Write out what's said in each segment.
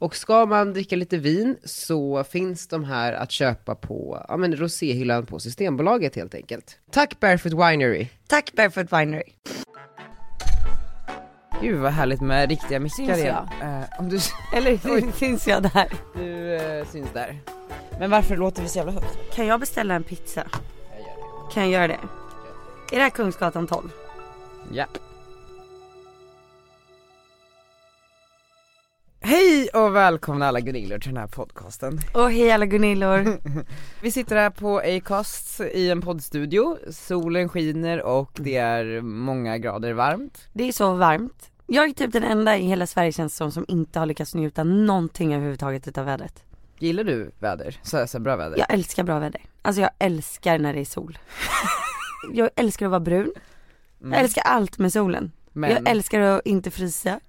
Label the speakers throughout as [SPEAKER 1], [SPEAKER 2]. [SPEAKER 1] Och ska man dricka lite vin så finns de här att köpa på ja, men roséhyllan på Systembolaget helt enkelt. Tack Barefoot Winery!
[SPEAKER 2] Tack Barefoot Winery.
[SPEAKER 1] Gud vad härligt med riktiga mickar
[SPEAKER 3] Syns
[SPEAKER 1] igen. Eh, om du,
[SPEAKER 2] Eller syns jag där?
[SPEAKER 1] du eh, syns där.
[SPEAKER 3] Men varför låter vi så jävla högt?
[SPEAKER 2] Kan jag beställa en pizza? Kan jag göra det? Är det här Kungsgatan 12?
[SPEAKER 1] Ja. Hej och välkomna alla Gunillor till den här podcasten.
[SPEAKER 2] Och hej alla Gunillor.
[SPEAKER 1] Vi sitter här på Acast i en poddstudio, solen skiner och det är många grader varmt.
[SPEAKER 2] Det är så varmt. Jag är typ den enda i hela Sverige känns det som, som inte har lyckats njuta någonting överhuvudtaget utav vädret.
[SPEAKER 1] Gillar du väder? Så här, så här bra väder?
[SPEAKER 2] Jag älskar bra väder. Alltså jag älskar när det är sol. jag älskar att vara brun. Jag älskar allt med solen.
[SPEAKER 1] Mm. Men
[SPEAKER 2] Jag älskar att inte frysa.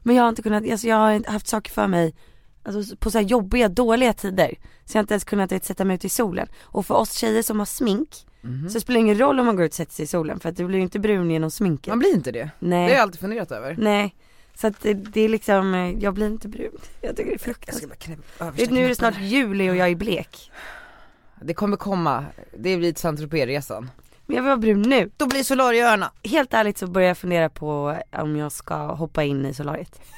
[SPEAKER 2] Men jag har inte kunnat, alltså jag har inte haft saker för mig Alltså på så här jobbiga, dåliga tider. Så jag har inte ens kunnat vet, sätta mig ut i solen. Och för oss tjejer som har smink,
[SPEAKER 1] Mhm.
[SPEAKER 2] så spelar det ingen roll om man går ut och sätter sig i solen för att du blir ju inte brun genom sminket.
[SPEAKER 1] man blir inte det. Det
[SPEAKER 2] Nej.
[SPEAKER 1] har jag alltid funderat över.
[SPEAKER 2] Nej, så att det, det är liksom, eh, jag blir inte brun. Jag tycker det är fruktansvärt.
[SPEAKER 1] bara knäppa översta
[SPEAKER 2] Vet, nu är det
[SPEAKER 1] knappen.
[SPEAKER 2] snart juli och jag är blek.
[SPEAKER 1] Det kommer komma, det blir saint resan
[SPEAKER 2] Men jag vill vara brun nu.
[SPEAKER 3] Då blir Solarieöarna.
[SPEAKER 2] Helt ärligt så börjar jag fundera på om jag ska hoppa in i solariet.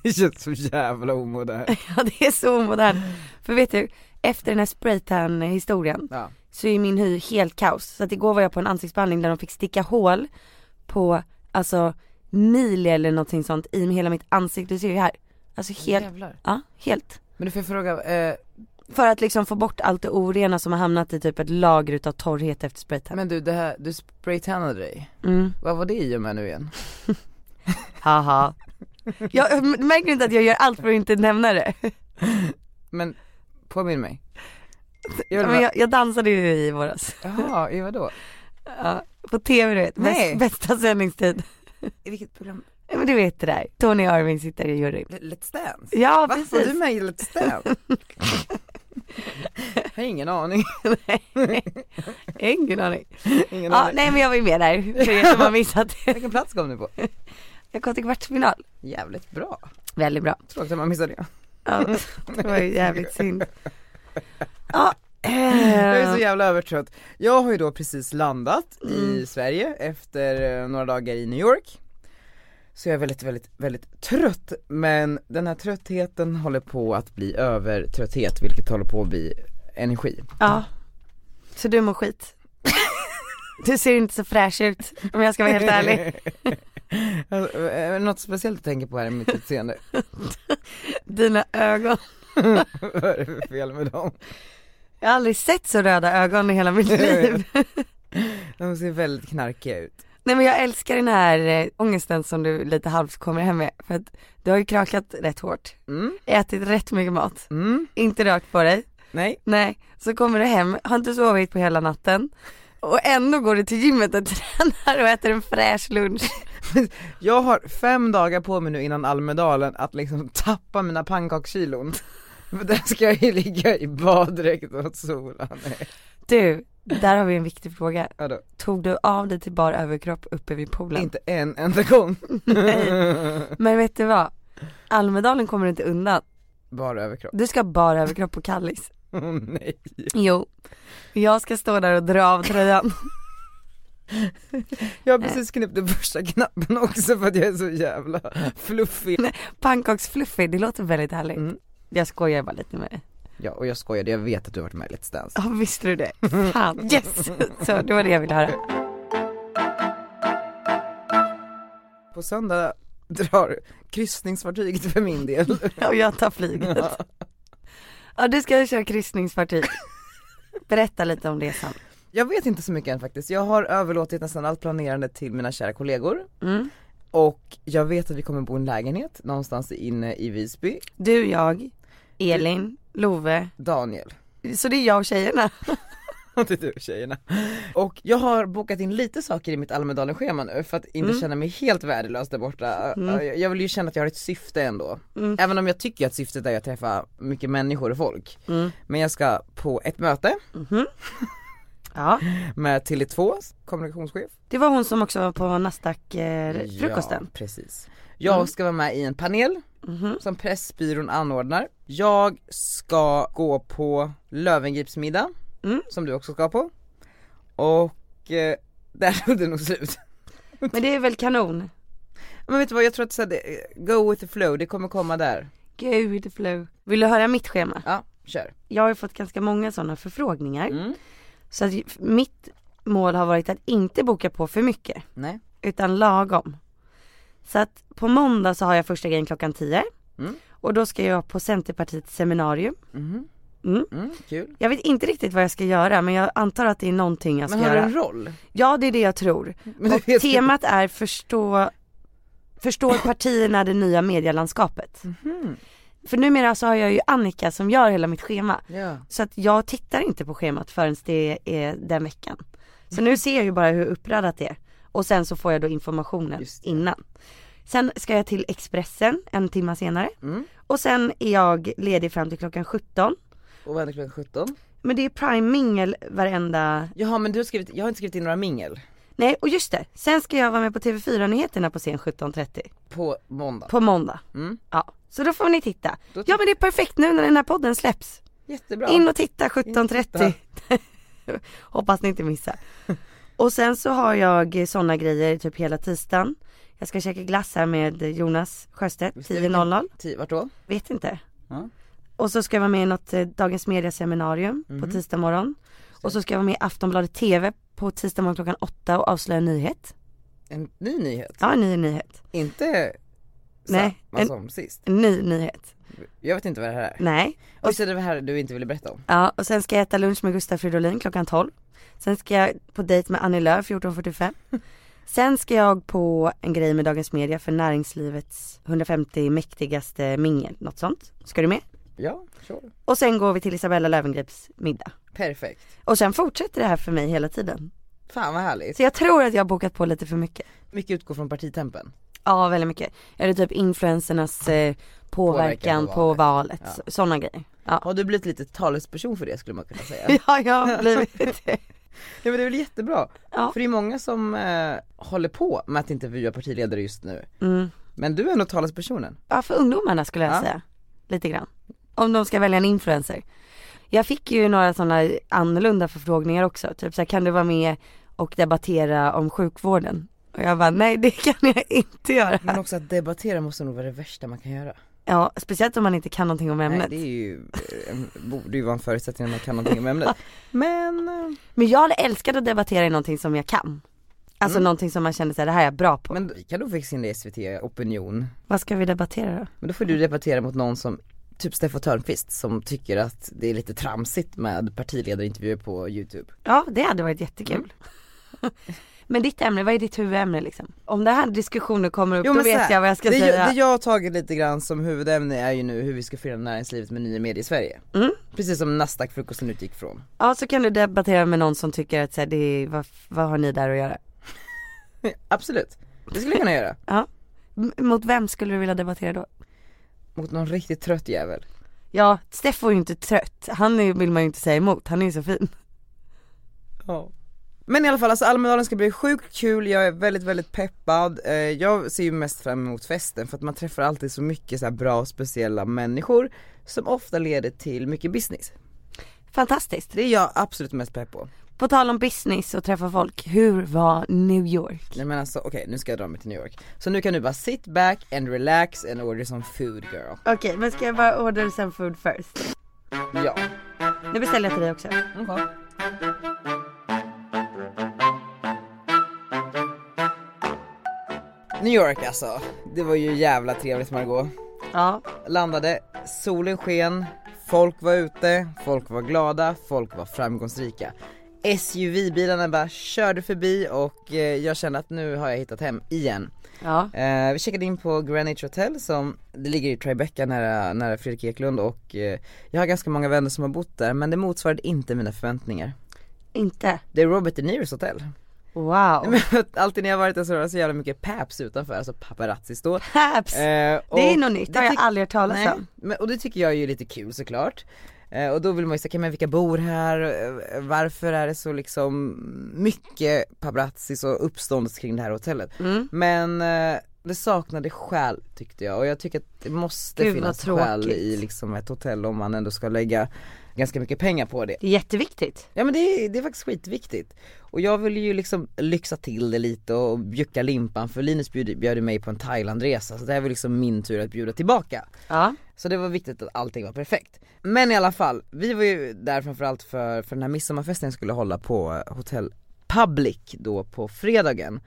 [SPEAKER 1] Det känns så jävla omodernt.
[SPEAKER 2] Ja det är så omodernt. För vet du, efter den här spraytan historien
[SPEAKER 1] Ja.
[SPEAKER 2] så är min hy helt kaos. Så att igår var jag på en ansiktsbehandling där de fick sticka hål på alltså mil eller någonting sånt i hela mitt ansikte. Du ser ju här. Alltså helt,
[SPEAKER 1] Jävlar.
[SPEAKER 2] ja helt.
[SPEAKER 1] Men du får jag fråga, eh,
[SPEAKER 2] För att liksom få bort allt det orena som har hamnat i typ ett lager utav torrhet efter spraytan.
[SPEAKER 1] men du det här, du spraytannade dig,
[SPEAKER 2] Mm,
[SPEAKER 1] vad var det i och med nu igen?
[SPEAKER 2] haha. Jag m- märker du inte att jag gör allt för att inte nämna det.
[SPEAKER 1] Men påminn mig.
[SPEAKER 2] Ja, Men jag, jag dansade ju i våras.
[SPEAKER 1] Jaha, i vadå?
[SPEAKER 2] Ja, på tv du vet,
[SPEAKER 1] Nej.
[SPEAKER 2] Bäst, bästa sändningstid.
[SPEAKER 1] I vilket program?
[SPEAKER 2] Ja, Men du vet det där, Tony Irving sitter i juryn.
[SPEAKER 1] Let's Dance?
[SPEAKER 2] Ja
[SPEAKER 1] Va? Var du
[SPEAKER 2] precis.
[SPEAKER 1] med i Let's Dance? jag har ingen aning,
[SPEAKER 2] Ingen aning.
[SPEAKER 1] ingen
[SPEAKER 2] Ja,
[SPEAKER 1] aning.
[SPEAKER 2] nej men jag var ju med där, för er som har missat det.
[SPEAKER 1] Vilken plats kom du på?
[SPEAKER 2] Jag kom till kvartsfinal.
[SPEAKER 1] Jävligt bra,
[SPEAKER 2] Väldigt bra.
[SPEAKER 1] tråkigt att man missade det.
[SPEAKER 2] Ja, det var ju jävligt synd. Ja.
[SPEAKER 1] Jag är
[SPEAKER 2] eh,
[SPEAKER 1] så jävla övertrött. Jag har ju då precis landat i
[SPEAKER 2] Mm.
[SPEAKER 1] Sverige efter eh, några dagar i New York. Så jag är väldigt, väldigt, väldigt trött. Men den här tröttheten håller på att bli övertrötthet, vilket håller på att bli energi.
[SPEAKER 2] Ja. Så du mår skit? Du ser inte så fräsch ut om jag ska vara helt ärlig.
[SPEAKER 1] Alltså, eh, Något speciellt att tänka på här i mitt utseende.
[SPEAKER 2] Dina ögon.
[SPEAKER 1] Vad är det för fel med dem?
[SPEAKER 2] Jag har aldrig sett så röda ögon i hela mitt liv.
[SPEAKER 1] De ser väldigt knarkiga ut.
[SPEAKER 2] Nej men jag älskar den här eh, ångesten som du lite halvt kommer hem med. För att du har ju krakat rätt hårt,
[SPEAKER 1] Mm,
[SPEAKER 2] ätit rätt mycket mat,
[SPEAKER 1] mm,
[SPEAKER 2] inte rört på dig.
[SPEAKER 1] nej.
[SPEAKER 2] Nej, så kommer du hem, har inte sovit på hela natten. Och ändå går du till gymmet och tränar och äter en fräsch lunch.
[SPEAKER 1] Jag har fem dagar på mig nu innan Almedalen att liksom tappa mina pannkakskilon. För där ska jag ju ligga i baddräkt och sola. Nej,
[SPEAKER 2] Du, där har vi en viktig fråga.
[SPEAKER 1] vadå?
[SPEAKER 2] Tog du av dig till bar överkropp uppe vid poolen?
[SPEAKER 1] Inte en enda gång.
[SPEAKER 2] Men vet du vad? Almedalen kommer du inte undan.
[SPEAKER 1] Bara överkropp.
[SPEAKER 2] Du ska bara överkropp på Kallis.
[SPEAKER 1] Åh nej.
[SPEAKER 2] Jo. Jag ska stå där och dra av tröjan.
[SPEAKER 1] Jag har precis knäppt den första knappen också för att jag är så jävla fluffig.
[SPEAKER 2] Pannkaksfluffig, det låter väldigt härligt.
[SPEAKER 1] Mm.
[SPEAKER 2] Jag skojar bara lite med dig.
[SPEAKER 1] Ja och jag skojade, jag vet att du har varit med i Let's Dance.
[SPEAKER 2] Ja, visste du det? Fan, yes! Så det var det jag ville höra.
[SPEAKER 1] På söndag drar kryssningsfartyget för min del.
[SPEAKER 2] Och jag tar flyget. Ja, du ska köra kryssningsfartyg. Berätta lite om resan.
[SPEAKER 1] Jag vet inte så mycket än faktiskt. Jag har överlåtit nästan allt planerande till mina kära kollegor.
[SPEAKER 2] Mm.
[SPEAKER 1] och jag vet att vi kommer bo i en lägenhet någonstans inne i Visby,
[SPEAKER 2] Du, jag, Elin, Love.
[SPEAKER 1] Daniel,
[SPEAKER 2] Så det är jag och tjejerna.
[SPEAKER 1] det är du tjejerna. Och jag har bokat in lite saker i mitt Almedalen-schema nu för att inte känna mig helt värdelös där borta. Jag- Jag vill ju känna att jag har ett syfte ändå. Även om jag tycker att syftet är att träffa mycket människor och folk. Men jag ska på ett möte
[SPEAKER 2] Mm-hmm. Ja.
[SPEAKER 1] med Tele2s kommunikationschef.
[SPEAKER 2] Det var hon som också var på Nasdaq-frukosten. Mm-hmm.
[SPEAKER 1] Ja, precis. Jag ska vara med i en panel som Pressbyrån anordnar. Jag ska gå på Lövengripsmiddag,
[SPEAKER 2] Mm.
[SPEAKER 1] som du också ska på. Och eh, där tog det nog slut.
[SPEAKER 2] Men det är väl kanon?
[SPEAKER 1] Men vet du vad, jag tror att så här, det, eh, go with the flow, det kommer komma där.
[SPEAKER 2] Gud, flow. Vill du höra mitt schema?
[SPEAKER 1] Ja, kör.
[SPEAKER 2] Jag har ju fått ganska många sådana förfrågningar.
[SPEAKER 1] Mm.
[SPEAKER 2] Så att mitt mål har varit att inte boka på för mycket,
[SPEAKER 1] Nej.
[SPEAKER 2] utan lagom. Så att på måndag så har jag första grejen klockan 10.
[SPEAKER 1] Mm.
[SPEAKER 2] Och då ska jag på Centerpartiets seminarium.
[SPEAKER 1] Mhm.
[SPEAKER 2] Mm.
[SPEAKER 1] Mm, kul.
[SPEAKER 2] Jag vet inte riktigt vad jag ska göra men jag antar att det är någonting jag ska
[SPEAKER 1] Men har du
[SPEAKER 2] göra.
[SPEAKER 1] en roll?
[SPEAKER 2] Ja det är det jag tror.
[SPEAKER 1] Men du
[SPEAKER 2] och
[SPEAKER 1] vet-
[SPEAKER 2] temat är förstå, förstår partierna det nya medielandskapet.
[SPEAKER 1] Mm-hmm.
[SPEAKER 2] För numera så har jag ju Annika som gör hela mitt schema.
[SPEAKER 1] Ja.
[SPEAKER 2] Så att jag tittar inte på schemat förrän det är den veckan. Så nu ser jag ju bara hur uppradat det är. Och sen så får jag då informationen
[SPEAKER 1] Just det.
[SPEAKER 2] innan. Sen ska jag till Expressen en timme senare.
[SPEAKER 1] Mm.
[SPEAKER 2] Och sen är jag ledig fram till klockan 17.
[SPEAKER 1] Och vad händer klockan 17?
[SPEAKER 2] Men det är prime mingel varenda
[SPEAKER 1] Jaha men du har skrivit, jag har inte skrivit in några mingel.
[SPEAKER 2] Nej och just det, sen ska jag vara med på TV4 Nyheterna på scen 17.30
[SPEAKER 1] På måndag.
[SPEAKER 2] på måndag.
[SPEAKER 1] Mm.
[SPEAKER 2] Ja, så då får ni titta.
[SPEAKER 1] Då
[SPEAKER 2] Ja men det är perfekt nu när den här podden släpps.
[SPEAKER 1] Jättebra.
[SPEAKER 2] In och titta 17.30. Hoppas ni inte missar. Och sen så har jag sådana grejer typ hela tisdagen. Jag ska käka glass här med Jonas Sjöstedt
[SPEAKER 1] Visst är det vilken-
[SPEAKER 2] 10.00.
[SPEAKER 1] Ti- Vart då?
[SPEAKER 2] Vet inte.
[SPEAKER 1] Ja.
[SPEAKER 2] Och så ska jag vara med i något eh, Dagens Media seminarium
[SPEAKER 1] Mhm.
[SPEAKER 2] på tisdag morgon. Och så ska jag vara med i Aftonbladet TV på tisdag morgon klockan 8 och avslöja en nyhet.
[SPEAKER 1] En ny nyhet?
[SPEAKER 2] Ja, en ny nyhet.
[SPEAKER 1] Inte
[SPEAKER 2] Nej,
[SPEAKER 1] samma
[SPEAKER 2] en-
[SPEAKER 1] som sist.
[SPEAKER 2] En ny nyhet.
[SPEAKER 1] Jag vet inte vad det här är.
[SPEAKER 2] Nej.
[SPEAKER 1] Och så är det det här du inte ville berätta om.
[SPEAKER 2] Ja, och sen ska jag äta lunch med Gustaf Fridolin klockan 12. Sen ska jag på dejt med Annie Lööf 14.45. Sen ska jag på en grej med Dagens Media för näringslivets 150 mäktigaste mingel, något sånt. Ska du med?
[SPEAKER 1] Ja, sure.
[SPEAKER 2] Och sen går vi till Isabella Lövengrips middag.
[SPEAKER 1] Perfekt.
[SPEAKER 2] Och sen fortsätter det här för mig hela tiden.
[SPEAKER 1] Fan vad härligt.
[SPEAKER 2] Så jag tror att jag har bokat på lite för mycket.
[SPEAKER 1] Mycket utgår från partitempen.
[SPEAKER 2] Ja, väldigt mycket. Eller typ influencernas eh, påverkan
[SPEAKER 1] Påverkan
[SPEAKER 2] på
[SPEAKER 1] på
[SPEAKER 2] valet, sådana grejer. Ja,
[SPEAKER 1] Har du blivit lite talesperson för det skulle man kunna säga.
[SPEAKER 2] ja jag har blivit det.
[SPEAKER 1] ja men det är väl jättebra.
[SPEAKER 2] Ja.
[SPEAKER 1] För det är många som eh, håller på med att intervjua partiledare just nu.
[SPEAKER 2] Mm.
[SPEAKER 1] Men du är nog talespersonen.
[SPEAKER 2] Ja för ungdomarna skulle jag
[SPEAKER 1] Ja.
[SPEAKER 2] säga. Lite grann. Om de ska välja en influencer. Jag fick ju några sådana annorlunda förfrågningar också. Typ såhär, kan du vara med och debattera om sjukvården? Och jag bara, nej det kan jag inte göra.
[SPEAKER 1] Men också att debattera måste nog vara det värsta man kan göra.
[SPEAKER 2] Ja, speciellt om man inte kan någonting om
[SPEAKER 1] Nej
[SPEAKER 2] ämnet.
[SPEAKER 1] det är ju, eh, en, borde ju vara en förutsättning när man kan någonting om ämnet. Men eh,
[SPEAKER 2] Men jag hade älskat att debattera i någonting som jag kan. Alltså
[SPEAKER 1] Mm.
[SPEAKER 2] någonting som man känner såhär, det här är jag bra på.
[SPEAKER 1] Men vi kan nog fixa in det i SVT opinion.
[SPEAKER 2] Vad ska vi debattera då?
[SPEAKER 1] Men då får du debattera mot någon som, typ Steffan Törnqvist som tycker att det är lite tramsigt med partiledarintervjuer på youtube.
[SPEAKER 2] Ja, det hade varit jättekul.
[SPEAKER 1] Mm.
[SPEAKER 2] Men ditt ämne, vad är ditt huvudämne liksom? Om den här diskussionen kommer upp, då
[SPEAKER 1] så
[SPEAKER 2] vet
[SPEAKER 1] här,
[SPEAKER 2] jag vad jag ska
[SPEAKER 1] det,
[SPEAKER 2] säga.
[SPEAKER 1] Det jag har tagit lite grann som huvudämne är ju nu hur vi ska förena näringslivet med nya medier i Sverige.
[SPEAKER 2] Mm.
[SPEAKER 1] Precis som Nasdaq-frukosten utgick från.
[SPEAKER 2] Ja så kan du debattera med någon som tycker att så här, det är, vad, vad har ni där att göra?
[SPEAKER 1] Absolut, det skulle jag kunna göra.
[SPEAKER 2] M- mot vem skulle du vilja debattera då?
[SPEAKER 1] Mot någon riktigt trött jävel.
[SPEAKER 2] Ja, Steffo är ju inte trött, han är, vill man ju inte säga emot, han är ju så fin.
[SPEAKER 1] Men i alla fall, alltså Almedalen ska bli sjukt kul, jag är väldigt väldigt peppad. Eh, jag ser ju mest fram emot festen för att man träffar alltid så mycket så här bra och speciella människor som ofta leder till mycket business.
[SPEAKER 2] Fantastiskt.
[SPEAKER 1] Det är jag absolut mest pepp på.
[SPEAKER 2] På tal om business och träffa folk, hur var New York?
[SPEAKER 1] Nej men alltså okej, nu ska jag dra mig till New York. Så nu kan du bara sit back and relax and order some food girl.
[SPEAKER 2] Okej men ska jag bara order some food first?
[SPEAKER 1] Ja.
[SPEAKER 2] Nu beställer jag till dig också.
[SPEAKER 1] New York alltså, det var ju jävla trevligt Margot.
[SPEAKER 2] Ja,
[SPEAKER 1] landade, solen sken, folk var ute, folk var glada, folk var framgångsrika. SUV-bilarna bara körde förbi och eh, jag kände att nu har jag hittat hem igen.
[SPEAKER 2] Ja.
[SPEAKER 1] Eh, vi checkade in på Greenwich Hotel som, det ligger i Tribeca nära, nära Fredrik Eklund och eh, jag har ganska många vänner som har bott där men det motsvarade inte mina förväntningar.
[SPEAKER 2] Inte?
[SPEAKER 1] Det är Robert De Niros hotell.
[SPEAKER 2] Wow.
[SPEAKER 1] Men Alltid när jag har varit där så har det varit så jävla mycket paps utanför, alltså paparazzi står. Eh,
[SPEAKER 2] Paps!
[SPEAKER 1] och
[SPEAKER 2] det är något nytt, det har jag
[SPEAKER 1] tyck-
[SPEAKER 2] aldrig hört talas
[SPEAKER 1] Nej,
[SPEAKER 2] om.
[SPEAKER 1] men, och det tycker jag är ju lite kul såklart. Eh, och då vill man ju säga, okej, men vilka bor här? Eh, Varför är det så liksom mycket paparazzis och uppståndelse kring det här hotellet?
[SPEAKER 2] Mm.
[SPEAKER 1] Men eh, det saknade själ tyckte jag och jag tycker att det måste
[SPEAKER 2] Gud, vad
[SPEAKER 1] finnas själ
[SPEAKER 2] tråkigt.
[SPEAKER 1] i liksom ett hotell om man ändå ska lägga ganska mycket pengar på det.
[SPEAKER 2] Det är jätteviktigt.
[SPEAKER 1] Ja men det, är- det är faktiskt skitviktigt. Och jag ville ju liksom lyxa till det lite och bjucka limpan för Linus bjöd, bjöd ju mig på en Thailandresa så det här var liksom min tur att bjuda tillbaka.
[SPEAKER 2] Ja.
[SPEAKER 1] Så det var viktigt att allting var perfekt. Men i alla fall, vi var ju där framförallt för, för den här midsommarfesten skulle hålla på Hotell Public då på fredagen.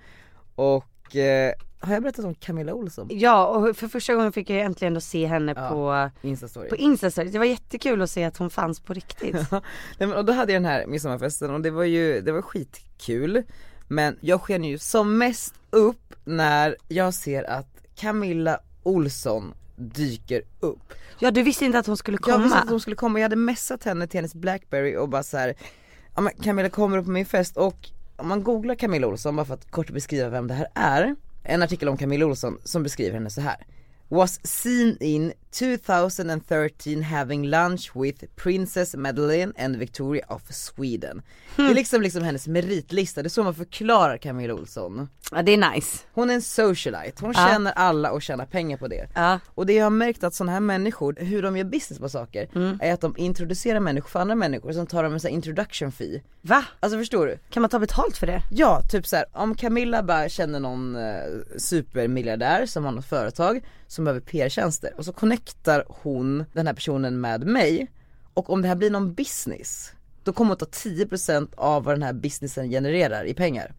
[SPEAKER 1] Och eh, har jag berättat om Camilla Olsson?
[SPEAKER 2] Ja och för första gången fick jag ju äntligen då se henne
[SPEAKER 1] Ja.
[SPEAKER 2] på,
[SPEAKER 1] Instastory.
[SPEAKER 2] på Instastory. Det var jättekul att se att hon fanns på riktigt.
[SPEAKER 1] Nej, men, och då hade jag den här midsommarfesten och det var ju, det var skitkul. Men jag sken ju som mest upp när jag ser att Camilla Olsson dyker upp.
[SPEAKER 2] Ja du visste inte att hon skulle
[SPEAKER 1] Jag visste
[SPEAKER 2] komma.
[SPEAKER 1] att hon skulle komma, jag hade messat henne till hennes Blackberry och bara så här. ja men Camilla kommer upp på min fest och om man googlar Camilla Olsson bara för att kort beskriva vem det här är, en artikel om Camilla Olsson som beskriver henne så här. Was seen in 2013 having lunch with Princess Madeleine and Victoria of Sweden. Det
[SPEAKER 2] Hm.
[SPEAKER 1] är liksom, liksom hennes meritlista, det är så man förklarar Camilla Olsson.
[SPEAKER 2] Ja det är nice.
[SPEAKER 1] Hon är en socialite, hon
[SPEAKER 2] Ja.
[SPEAKER 1] känner alla och tjänar pengar på det.
[SPEAKER 2] Ja.
[SPEAKER 1] Och det jag har märkt att sådana här människor, hur de gör business på saker, är att de introducerar människor för andra människor, som tar de en sån här introduction fee.
[SPEAKER 2] Va?
[SPEAKER 1] Alltså förstår du?
[SPEAKER 2] Kan man ta betalt för det?
[SPEAKER 1] Ja, typ så här, om Camilla bara känner någon eh, supermiljardär som har något företag som behöver PR-tjänster och så connectar hon den här personen med mig och om det här blir någon business, då kommer hon ta 10% av vad den här businessen genererar i pengar.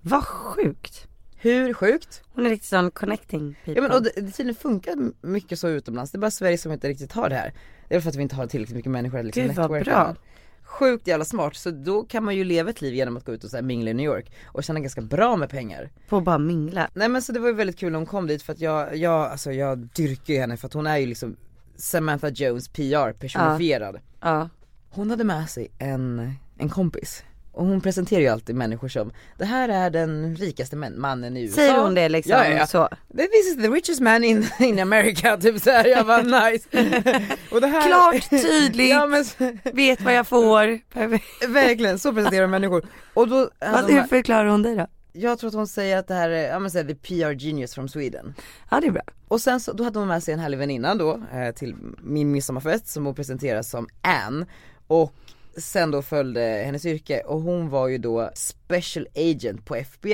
[SPEAKER 2] Vad sjukt.
[SPEAKER 1] Hur sjukt?
[SPEAKER 2] Hon är riktigt sån connecting people.
[SPEAKER 1] Ja men och det, det tydligen funkar mycket så utomlands, det är bara Sverige som inte riktigt har det här. Det är väl för att vi inte har tillräckligt mycket människor att liksom
[SPEAKER 2] Gud, vad
[SPEAKER 1] networka
[SPEAKER 2] bra.
[SPEAKER 1] med. Sjukt jävla smart, så då kan man ju leva ett liv genom att gå ut och så här mingla i New York och tjäna ganska bra med pengar.
[SPEAKER 2] På att bara mingla.
[SPEAKER 1] Nej men så det var ju väldigt kul när hon kom dit för att jag, jag, alltså jag dyrkar ju henne för att hon är ju liksom Samantha Jones PR personifierad.
[SPEAKER 2] Ja.
[SPEAKER 1] Hon hade med sig en, en kompis och hon presenterar ju alltid människor som, det här är den rikaste män, mannen i USA.
[SPEAKER 2] Säger hon det liksom
[SPEAKER 1] Ja, ja, ja.
[SPEAKER 2] så?
[SPEAKER 1] This is the richest man in, in America, typ såhär, jag bara nice. Och det här,
[SPEAKER 2] Klart, tydligt.
[SPEAKER 1] ja men
[SPEAKER 2] Vet vad jag får. Perfekt.
[SPEAKER 1] verkligen, så presenterar människor. Och då,
[SPEAKER 2] Vad-
[SPEAKER 1] alltså,
[SPEAKER 2] Hur förklarar hon det då?
[SPEAKER 1] jag tror att hon säger att det här är, ja men såhär, the PR genius from Sweden.
[SPEAKER 2] Ja det är bra.
[SPEAKER 1] Och sen så, då hade hon med sig en härlig väninna då, eh, till min midsommarfest som hon presenteras som Ann. Och sen då följde hennes yrke och hon var ju då special agent på FBI.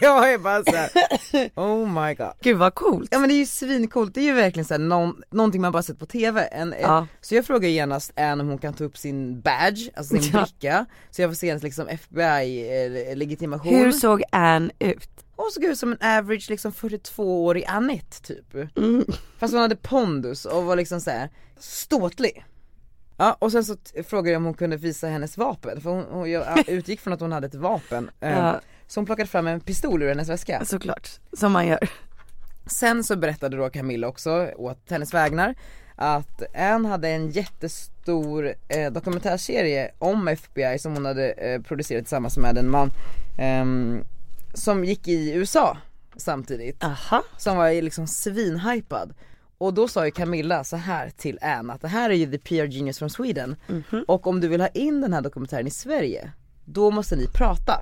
[SPEAKER 1] jag är bara såhär, oh my god.
[SPEAKER 2] Gud vad coolt.
[SPEAKER 1] Ja men det är ju svincoolt, det är ju verkligen såhär någon, någonting man bara sett på TV. En,
[SPEAKER 2] Ja.
[SPEAKER 1] Så jag frågar genast Ann om hon kan ta upp sin badge, alltså sin
[SPEAKER 2] Ja.
[SPEAKER 1] bricka, så jag får se hennes liksom eh, FBI-legitimation.
[SPEAKER 2] Hur såg Ann ut?
[SPEAKER 1] Hon såg ut som en average liksom 42-årig Anette typ.
[SPEAKER 2] Mm.
[SPEAKER 1] Fast hon hade pondus och var liksom såhär ståtlig. Ja och sen så t- frågade jag om hon kunde visa hennes vapen, för hon, hon, jag utgick från att hon hade ett vapen. Eh,
[SPEAKER 2] Ja,
[SPEAKER 1] Så hon plockade fram en pistol ur hennes väska.
[SPEAKER 2] såklart. Som man gör.
[SPEAKER 1] Sen så berättade då Camilla också åt hennes vägnar att Ann hade en jättestor eh, dokumentärserie om FBI som hon hade eh, producerat tillsammans med en man ehm, som gick i USA samtidigt,
[SPEAKER 2] Aha.
[SPEAKER 1] som var ju liksom svinhypad. Och då sa ju Camilla så här till Ann att det här är ju the PR genius from Sweden
[SPEAKER 2] Mhm.
[SPEAKER 1] och om du vill ha in den här dokumentären i Sverige då måste ni prata.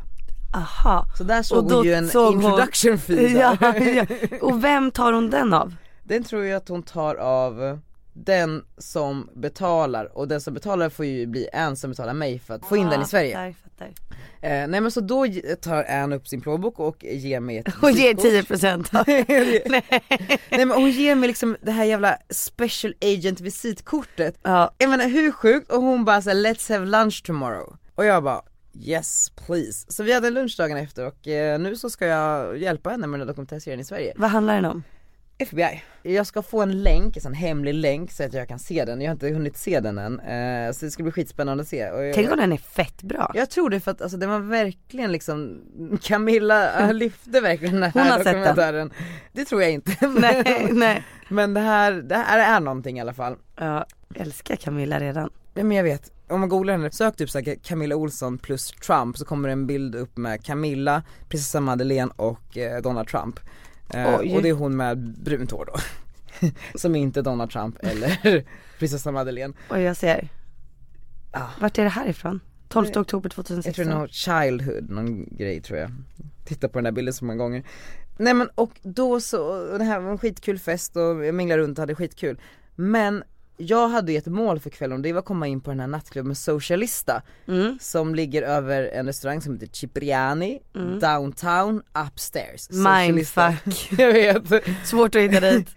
[SPEAKER 2] Aha.
[SPEAKER 1] Så där såg
[SPEAKER 2] då
[SPEAKER 1] hon ju en
[SPEAKER 2] såg hon-
[SPEAKER 1] introduction fee där.
[SPEAKER 2] Ja, ja. Och vem tar hon den av?
[SPEAKER 1] Den tror jag att hon tar av eh, den som betalar och den som betalar får ju bli en som betalar mig för att få in den i Sverige.
[SPEAKER 2] Fattar, fattar.
[SPEAKER 1] Eh, nej men så då ge- tar Ann upp sin plånbok och ger mig ett
[SPEAKER 2] Hon ger typ-
[SPEAKER 1] visitkort.
[SPEAKER 2] 10% av.
[SPEAKER 1] Nej men hon ger mig liksom det här jävla special agent visitkortet.
[SPEAKER 2] Ja.
[SPEAKER 1] Jag menar hur sjukt? Och hon bara såhär let's have lunch tomorrow. Och jag bara yes please. Så vi hade en lunch dagen efter och eh, nu så ska jag hjälpa henne med den här dokumentärserien i Sverige.
[SPEAKER 2] Vad handlar den om?
[SPEAKER 3] FBI.
[SPEAKER 1] Jag ska få en länk, en sån hemlig länk så att jag kan se den, jag har inte hunnit se den än. Eh, så det ska bli skitspännande att se. Och jag,
[SPEAKER 2] Tänk om den är fett bra.
[SPEAKER 1] jag tror det för att alltså, den var verkligen liksom, Camilla eh, lyfte verkligen den här
[SPEAKER 2] Hon har sett den.
[SPEAKER 1] dokumentären. Det tror jag inte.
[SPEAKER 2] nej, nej.
[SPEAKER 1] Men det här, det här är någonting i alla fall.
[SPEAKER 2] Ja, älskar Camilla redan.
[SPEAKER 1] Ja men jag vet, om man googlar henne, sök typ såhär Camilla Olsson plus Trump så kommer det en bild upp med Camilla, prinsessa Madeleine och eh, Donald Trump. Eh,
[SPEAKER 2] Oj.
[SPEAKER 1] och det är hon med brunt hår då. Som inte är Donald Trump eller prinsessa Madeleine.
[SPEAKER 2] Och jag ser.
[SPEAKER 1] Ah.
[SPEAKER 2] Vart är det här ifrån? 12
[SPEAKER 1] Jag-
[SPEAKER 2] oktober
[SPEAKER 1] Jag tror
[SPEAKER 2] 2016.
[SPEAKER 1] det är någon childhood, någon grej tror jag. Titta på den där bilden så många gånger. Nej men och då så, och det här var en skitkul fest och jag minglade runt och hade skitkul. Men jag hade ju ett mål för kvällen och det var att komma in på den här nattklubben Socialista.
[SPEAKER 2] Mm.
[SPEAKER 1] som ligger över en restaurang som heter Cipriani, downtown, upstairs. Socialista.
[SPEAKER 2] Mm. Mindfuck.
[SPEAKER 1] jag vet.
[SPEAKER 2] Svårt att hitta dit.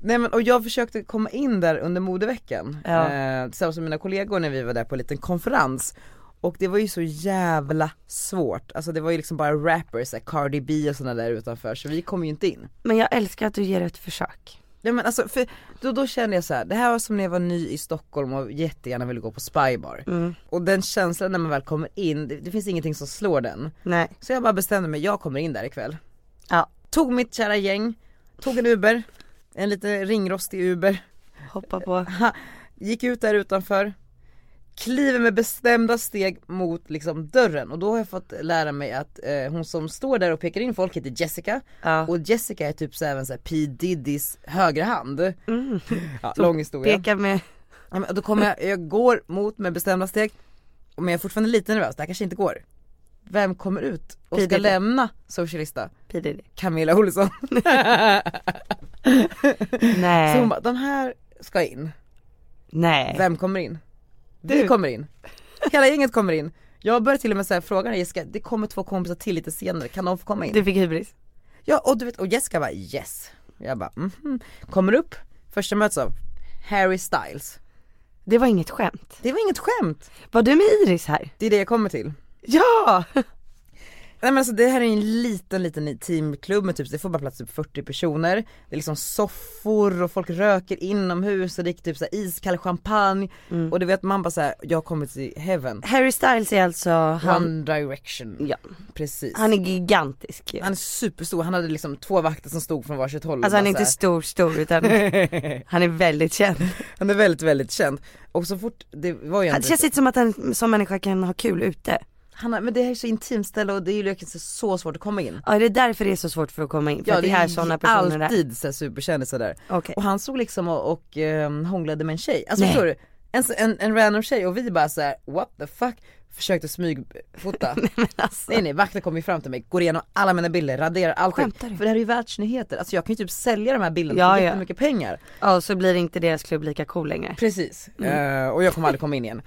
[SPEAKER 1] Nej men och jag försökte komma in där under modeveckan
[SPEAKER 2] Ja.
[SPEAKER 1] eh, tillsammans med mina kollegor när vi var där på en liten konferens. Och det var ju så jävla svårt, alltså det var ju liksom bara rappers, så här Cardi B och sådana där utanför så vi kom ju inte in.
[SPEAKER 2] Men jag älskar att du ger ett försök.
[SPEAKER 1] Ja men alltså för då, då kände jag så här, det här var som när jag var ny i Stockholm och jättegärna ville gå på spybar.
[SPEAKER 2] Mm.
[SPEAKER 1] Och den känslan när man väl kommer in, det, det finns ingenting som slår den.
[SPEAKER 2] Nej.
[SPEAKER 1] Så jag bara bestämde mig, jag kommer in där ikväll.
[SPEAKER 2] Ja.
[SPEAKER 1] Tog mitt kära gäng, tog en Uber, en lite ringrostig Uber,
[SPEAKER 2] Hoppa på.
[SPEAKER 1] gick ut där utanför, kliver med bestämda steg mot liksom dörren och då har jag fått lära mig att eh, hon som står där och pekar in folk heter Jessica
[SPEAKER 2] Ja.
[SPEAKER 1] och Jessica är typ så även så här P Diddys högra hand.
[SPEAKER 2] Mm.
[SPEAKER 1] Ja, lång historia.
[SPEAKER 2] Peka med.
[SPEAKER 1] Ja, men då kommer jag, jag går mot med bestämda steg, men jag är fortfarande lite nervös, det här kanske inte går. Vem kommer ut och
[SPEAKER 2] P.
[SPEAKER 1] ska
[SPEAKER 2] Diddy.
[SPEAKER 1] lämna Socialista?
[SPEAKER 2] P Diddy.
[SPEAKER 1] Camilla Olsson. Så hon
[SPEAKER 2] Nej.
[SPEAKER 1] bara, de här ska in.
[SPEAKER 2] Nej.
[SPEAKER 1] Vem kommer in? Vi
[SPEAKER 2] Eh. Du.
[SPEAKER 1] kommer in. Hela gänget kommer in. Jag började till och med säga frågan Jessica, det kommer två kompisar till lite senare, kan de få komma in?
[SPEAKER 2] Du fick hybris.
[SPEAKER 1] Ja och du vet, och Jessica bara yes. Jag bara mhm. Kommer upp, första möts av Harry Styles.
[SPEAKER 2] Det var inget skämt.
[SPEAKER 1] Det var inget skämt,
[SPEAKER 2] Var du med Iris här?
[SPEAKER 1] det är det jag kommer till.
[SPEAKER 2] Ja!
[SPEAKER 1] Nej men alltså det här är en liten liten teamklubb med typ, det får bara plats typ 40 personer Det är liksom soffor och folk röker inomhus och dricker typ så här iskall champagne
[SPEAKER 2] Mm.
[SPEAKER 1] Och du vet man bara såhär, jag har kommit till heaven
[SPEAKER 2] Harry Styles är alltså, han,
[SPEAKER 1] One direction,
[SPEAKER 2] ja,
[SPEAKER 1] precis
[SPEAKER 2] han är gigantisk ju.
[SPEAKER 1] Han är superstor, han hade liksom två vakter som stod från varsitt håll och
[SPEAKER 2] Alltså han är
[SPEAKER 1] Mm, bara
[SPEAKER 2] inte
[SPEAKER 1] så
[SPEAKER 2] stor stor utan
[SPEAKER 1] här-
[SPEAKER 2] han är väldigt känd. Alltså,
[SPEAKER 1] Han är väldigt väldigt känd Och så fort, det var ju en
[SPEAKER 2] Det känns inte som att han som människa kan ha kul ute.
[SPEAKER 1] han har, Men det här är så intimt ställe och det är ju liksom så svårt att komma in
[SPEAKER 2] Ja det är därför det är så svårt för att komma in, för att det är sådana personer där.
[SPEAKER 1] alltid så här superkändisar där
[SPEAKER 2] Okej.
[SPEAKER 1] Och han stod liksom och, och ehm, hånglade med en tjej, alltså
[SPEAKER 2] Nej.
[SPEAKER 1] förstår du? En, en, en random tjej och vi bara så här: what the fuck, försökte smygfota
[SPEAKER 2] Men alltså,
[SPEAKER 1] Nej nej, vakten kom ju fram till mig, går igenom alla mina bilder, raderar allting
[SPEAKER 2] Skämtar du?
[SPEAKER 1] För det här är ju världsnyheter, alltså jag kan ju typ sälja de här bilderna
[SPEAKER 2] Ja,
[SPEAKER 1] för
[SPEAKER 2] ja.
[SPEAKER 1] jättemycket pengar
[SPEAKER 2] ja så blir inte deras klubb lika cool längre.
[SPEAKER 1] Precis, Eh, och jag kommer aldrig komma in igen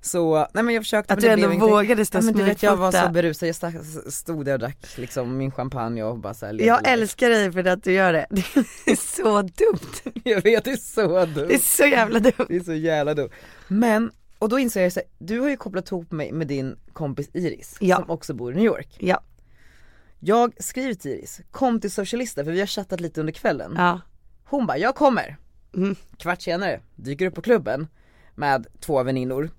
[SPEAKER 1] Så, nej men jag försökte
[SPEAKER 2] Mm. Att
[SPEAKER 1] men
[SPEAKER 2] du
[SPEAKER 1] det
[SPEAKER 2] ändå
[SPEAKER 1] blev ingenting.
[SPEAKER 2] vågade
[SPEAKER 1] Ja,
[SPEAKER 2] stå och
[SPEAKER 1] men du vet jag var så
[SPEAKER 2] smygfota.
[SPEAKER 1] berusad, jag stack- stod där och drack liksom min champagne och bara såhär
[SPEAKER 2] Jag älskar dig för att du gör det. Det är så dumt.
[SPEAKER 1] Jag vet, det är så dumt
[SPEAKER 2] Det är så jävla dumt.
[SPEAKER 1] Det är så jävla dumt. Men, och då inser jag så här, du har ju kopplat ihop mig med din kompis Iris
[SPEAKER 2] Ja.
[SPEAKER 1] som också bor i New York.
[SPEAKER 2] Ja.
[SPEAKER 1] Jag skriver till Iris, kom till Socialista för vi har chattat lite under kvällen.
[SPEAKER 2] Ja.
[SPEAKER 1] Hon bara, jag kommer.
[SPEAKER 2] Mm.
[SPEAKER 1] Kvart senare dyker upp på klubben med två väninnor.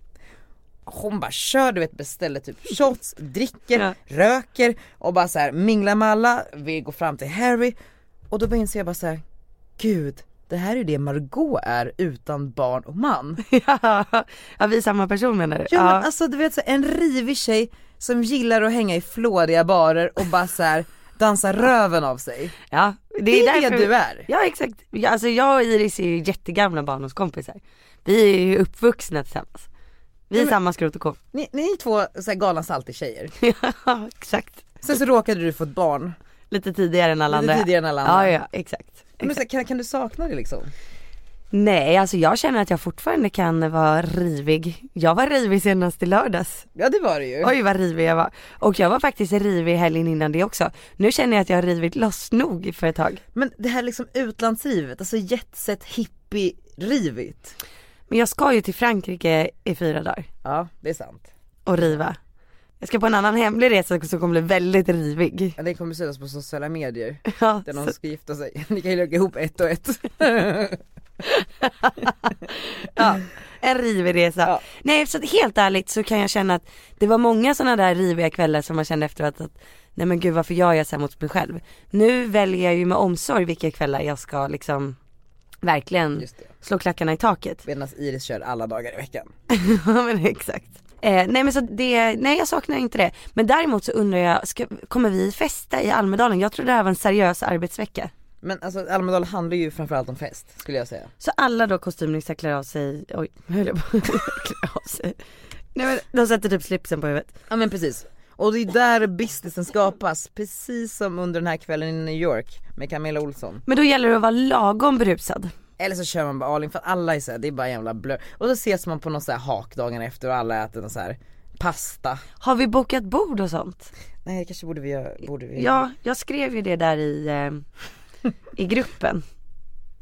[SPEAKER 1] Hon bara kör du vet beställer typ shots, dricker,
[SPEAKER 2] Ja.
[SPEAKER 1] röker och bara så här minglar med alla, vi går fram till Harry och då bara inser jag bara så här, gud det här är det Margot är utan barn och man.
[SPEAKER 2] Ja. ja, vi är samma person menar du?
[SPEAKER 1] Ja, men alltså du vet så en rivig tjej som gillar att hänga i flådiga barer och bara så här dansa röven av sig.
[SPEAKER 2] ja.
[SPEAKER 1] Det är, det du är.
[SPEAKER 2] Ja exakt, ja, alltså jag och Iris är ju jättegamla barndomskompisar. Vi är ju uppvuxna tillsammans. Vi är
[SPEAKER 1] Ja, men-
[SPEAKER 2] samma skrot och korn.
[SPEAKER 1] Ni, ni är två så här galna saltig-tjejer.
[SPEAKER 2] ja exakt.
[SPEAKER 1] Sen så råkade du få ett barn
[SPEAKER 2] Lite tidigare än alla
[SPEAKER 1] lite
[SPEAKER 2] andra.
[SPEAKER 1] tidigare än alla
[SPEAKER 2] Ja
[SPEAKER 1] andra.
[SPEAKER 2] ja exakt.
[SPEAKER 1] Men så här, kan, kan du sakna det liksom?
[SPEAKER 2] Nej alltså jag känner att jag fortfarande kan vara rivig. Jag var rivig senast i lördags.
[SPEAKER 1] Ja det var det ju.
[SPEAKER 2] Oj vad rivig jag var. Och jag var faktiskt rivig helgen innan det också. Nu känner jag att jag har rivit loss nog för ett tag.
[SPEAKER 1] Men det här liksom utlandslivet, alltså jetset, hippie, rivigt.
[SPEAKER 2] Men jag ska ju till Frankrike i fyra dagar
[SPEAKER 1] Ja det är sant.
[SPEAKER 2] och riva. Jag ska på en annan hemlig resa som kommer bli väldigt rivig.
[SPEAKER 1] Ja, Det kommer synas på sociala medier,
[SPEAKER 2] Ja,
[SPEAKER 1] där
[SPEAKER 2] så-
[SPEAKER 1] någon ska gifta sig. Ni kan ju lägga ihop ett och ett.
[SPEAKER 2] Ja, en rivig resa.
[SPEAKER 1] Ja.
[SPEAKER 2] Nej så att helt ärligt så kan jag känna att det var många sådana där riviga kvällar som man kände efteråt att nej men gud varför gör jag så här mot mig själv. Nu väljer jag ju med omsorg vilka kvällar jag ska liksom verkligen
[SPEAKER 1] Just det.
[SPEAKER 2] slå klackarna i taket.
[SPEAKER 1] Medan Iris kör alla dagar i veckan.
[SPEAKER 2] Ja men exakt. Eh, nej men så det, nej jag saknar inte det. Men däremot så undrar jag, ska, kommer vi festa i Almedalen? Jag tror det här var en seriös arbetsvecka.
[SPEAKER 1] Men alltså Almedalen handlar ju framförallt om fest, skulle jag säga.
[SPEAKER 2] Så alla då kostymnissar klär av sig, oj nu höll jag på att klä av sig. Nej men de sätter typ slipsen på huvudet.
[SPEAKER 1] Ja men precis. Och det är där businessen skapas, precis som under den här kvällen i New York med Camilla Olsson.
[SPEAKER 2] Men då gäller det att vara lagom berusad.
[SPEAKER 1] Eller så kör man bara all in för att alla är så här, det är bara en jävla blö. Och så ses man på någon så här hak dagen efter och alla äter någon så här pasta.
[SPEAKER 2] Har vi bokat bord och sånt?
[SPEAKER 1] Nej det kanske borde vi göra, borde vi
[SPEAKER 2] Ja, jag skrev ju det där i, eh, i gruppen.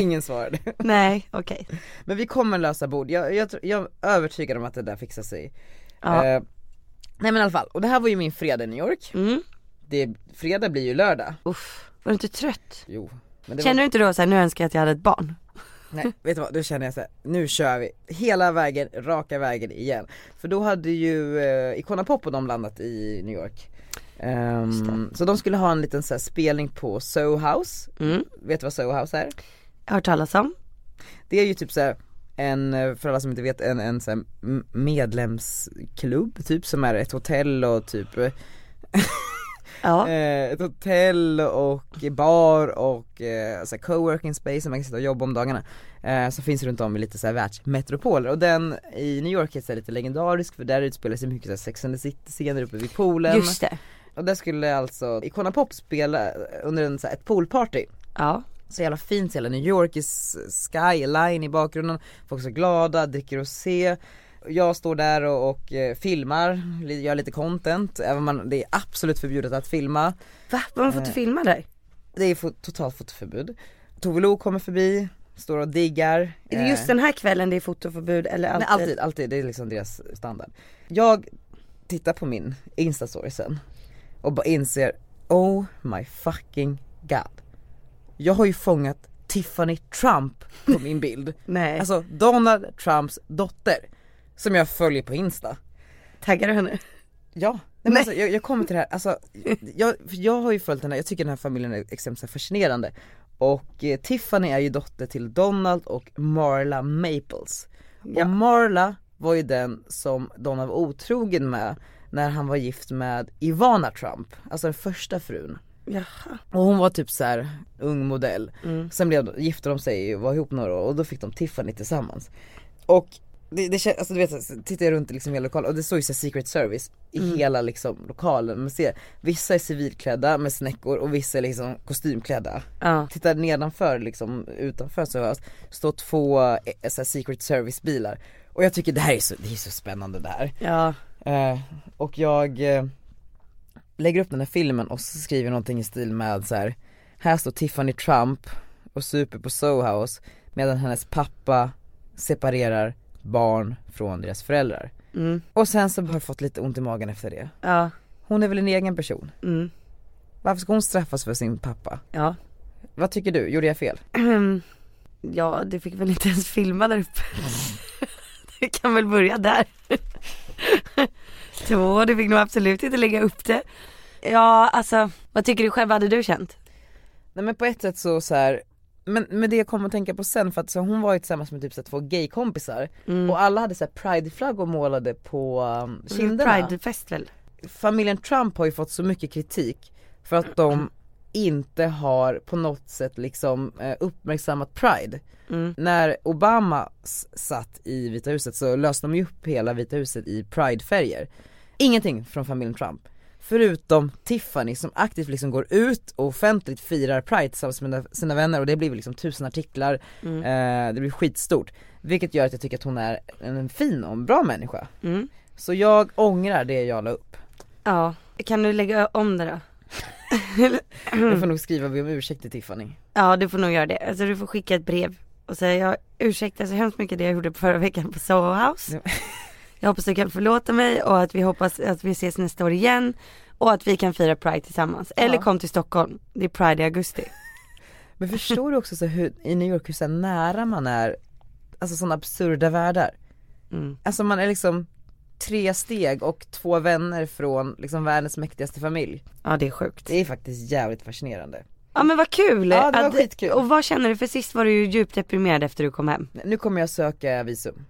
[SPEAKER 1] Ingen svarade.
[SPEAKER 2] Nej, okej.
[SPEAKER 1] Men vi kommer lösa bord, jag, jag, tror- jag är övertygad om att det där fixar sig.
[SPEAKER 2] Ja.
[SPEAKER 1] Eh, nej men i alla fall, och det här var ju min fredag i New York.
[SPEAKER 2] Mm.
[SPEAKER 1] Det, fredag blir ju lördag.
[SPEAKER 2] Uff, var du inte trött?
[SPEAKER 1] Jo. Men det var
[SPEAKER 2] Känner du inte då såhär, nu önskar jag att jag hade ett barn?
[SPEAKER 1] Nej vet du vad, då känner jag så här, nu kör vi hela vägen, raka vägen igen. För då hade ju eh, Icona Pop och de landat i New York. Ehm, så de skulle ha en liten så här, spelning på Soho House,
[SPEAKER 2] Mm,
[SPEAKER 1] vet du vad Soho House är?
[SPEAKER 2] jag har hört talas om.
[SPEAKER 1] Det är ju typ så här, en, eh, för alla som inte vet, en, en så här, m- medlemsklubb typ som är ett hotell och typ eh,
[SPEAKER 2] Ja.
[SPEAKER 1] Eh, ett hotell och bar och eh, så här coworking space där man kan sitta och jobba om dagarna. Eh, som finns runt om i lite så här världsmetropoler och den i New York är så här lite legendarisk för där utspelar sig mycket så här Sex and the City scener uppe vid poolen.
[SPEAKER 2] Just det.
[SPEAKER 1] Och där skulle alltså Icona Pop spela eh, under en, så här, ett poolparty.
[SPEAKER 2] Ja.
[SPEAKER 1] Så jävla fint, så hela New York i s- skyline i bakgrunden, folk så glada, dricker rosé jag står där och, och eh, filmar, li- gör lite content, även om man, det är absolut förbjudet att filma
[SPEAKER 2] Va? Var man får
[SPEAKER 1] Eh,
[SPEAKER 2] inte filma där?
[SPEAKER 1] det är fot- totalt fotoförbud. Tove Lo kommer förbi, står och diggar. eh,
[SPEAKER 2] Är det just den här kvällen det är fotoförbud eller alltid?
[SPEAKER 1] alltid. alltid, alltid, det är liksom deras standard. Jag tittar på min instastory sen och bara inser, oh my fucking god. Jag har ju fångat Tiffany Trump på min bild.
[SPEAKER 2] Nej.
[SPEAKER 1] Alltså Donald Trumps dotter, som jag följer på Insta.
[SPEAKER 2] Taggar du henne?
[SPEAKER 1] Ja, nej, men alltså, jag, jag kommer till det här, alltså, jag, för jag har ju följt den här, jag tycker den här familjen är extremt så här fascinerande Och eh, Tiffany är ju dotter till Donald och Marla Maples Och Marla var ju den som Donald var otrogen med när han var gift med Ivana Trump, alltså den första frun
[SPEAKER 2] Jaha.
[SPEAKER 1] och hon var typ så här ung modell. Sen blev, de- gifte de sig och var ihop några år och då fick de Tiffany tillsammans. Och det, det känns, alltså du vet, så tittar jag runt i liksom hela lokalen och det står ju så här secret service i hela liksom lokalen. Man ser, vissa är civilklädda med snäckor och vissa är liksom kostymklädda.
[SPEAKER 2] Ja.
[SPEAKER 1] Tittar nedanför liksom, utanför så hörs, står två eh, så här, secret service bilar. Och jag tycker det här är så, det är så spännande det här.
[SPEAKER 2] Ja.
[SPEAKER 1] Eh, och jag eh, lägger upp den här filmen och så skriver jag någonting i stil med så här. här står Tiffany Trump och super på Soho House medan hennes pappa separerar barn från deras föräldrar.
[SPEAKER 2] Mm.
[SPEAKER 1] Och sen så har jag fått lite ont i magen efter det.
[SPEAKER 2] Ja.
[SPEAKER 1] Hon är väl en egen person?
[SPEAKER 2] Mm.
[SPEAKER 1] Varför ska hon straffas för sin pappa?
[SPEAKER 2] Ja.
[SPEAKER 1] Vad tycker du? Gjorde jag fel?
[SPEAKER 2] Ehm, Ja, du fick väl inte ens filma där uppe. Du kan väl börja där. Två, du fick nog absolut inte lägga upp det. Ja, alltså vad tycker du själv, hade du känt?
[SPEAKER 1] Nej men på ett sätt så, så här. Men, men det jag kom att tänka på sen för att så hon var ju tillsammans med typ så här, två gaykompisar och alla hade så här prideflaggor målade på um,
[SPEAKER 2] Mm,
[SPEAKER 1] kinderna.
[SPEAKER 2] Pridefest väl?
[SPEAKER 1] familjen Trump har ju fått så mycket kritik för att de inte har på något sätt liksom eh, uppmärksammat Pride.
[SPEAKER 2] Mm,
[SPEAKER 1] När Obama s- satt i Vita huset så löste de ju upp hela Vita huset i Pride-färger. Ingenting från familjen Trump. Förutom Tiffany som aktivt liksom går ut och offentligt firar Pride tillsammans med sina vänner och det blir liksom tusen artiklar,
[SPEAKER 2] mm,
[SPEAKER 1] eh, det blir skitstort. Vilket gör att jag tycker att hon är en fin och en bra människa.
[SPEAKER 2] Mm.
[SPEAKER 1] Så jag ångrar det jag la upp.
[SPEAKER 2] Ja, kan du lägga om det då?
[SPEAKER 1] Jag får nog skriva om ursäkt till Tiffany.
[SPEAKER 2] Ja, du får nog göra det. Alltså du får skicka ett brev och säga jag ursäktar så hemskt mycket det jag gjorde förra veckan på Soho House. Jag hoppas du kan förlåta mig och att vi hoppas att vi ses nästa år igen. Och att vi kan fira Pride tillsammans. Eller
[SPEAKER 1] Ja.
[SPEAKER 2] kom till Stockholm, det är Pride i augusti.
[SPEAKER 1] Men förstår du också så hur, i New York hur så här nära man är, alltså sådana absurda världar.
[SPEAKER 2] Mm.
[SPEAKER 1] Alltså man är liksom tre steg och två vänner från liksom världens mäktigaste familj.
[SPEAKER 2] Ja det är sjukt.
[SPEAKER 1] Det är faktiskt jävligt fascinerande.
[SPEAKER 2] Ja men vad kul!
[SPEAKER 1] Ja, det var
[SPEAKER 2] Att-
[SPEAKER 1] skitkul.
[SPEAKER 2] Och vad känner du? För sist var du ju djupt deprimerad efter du kom hem.
[SPEAKER 1] Nu kommer jag söka visum.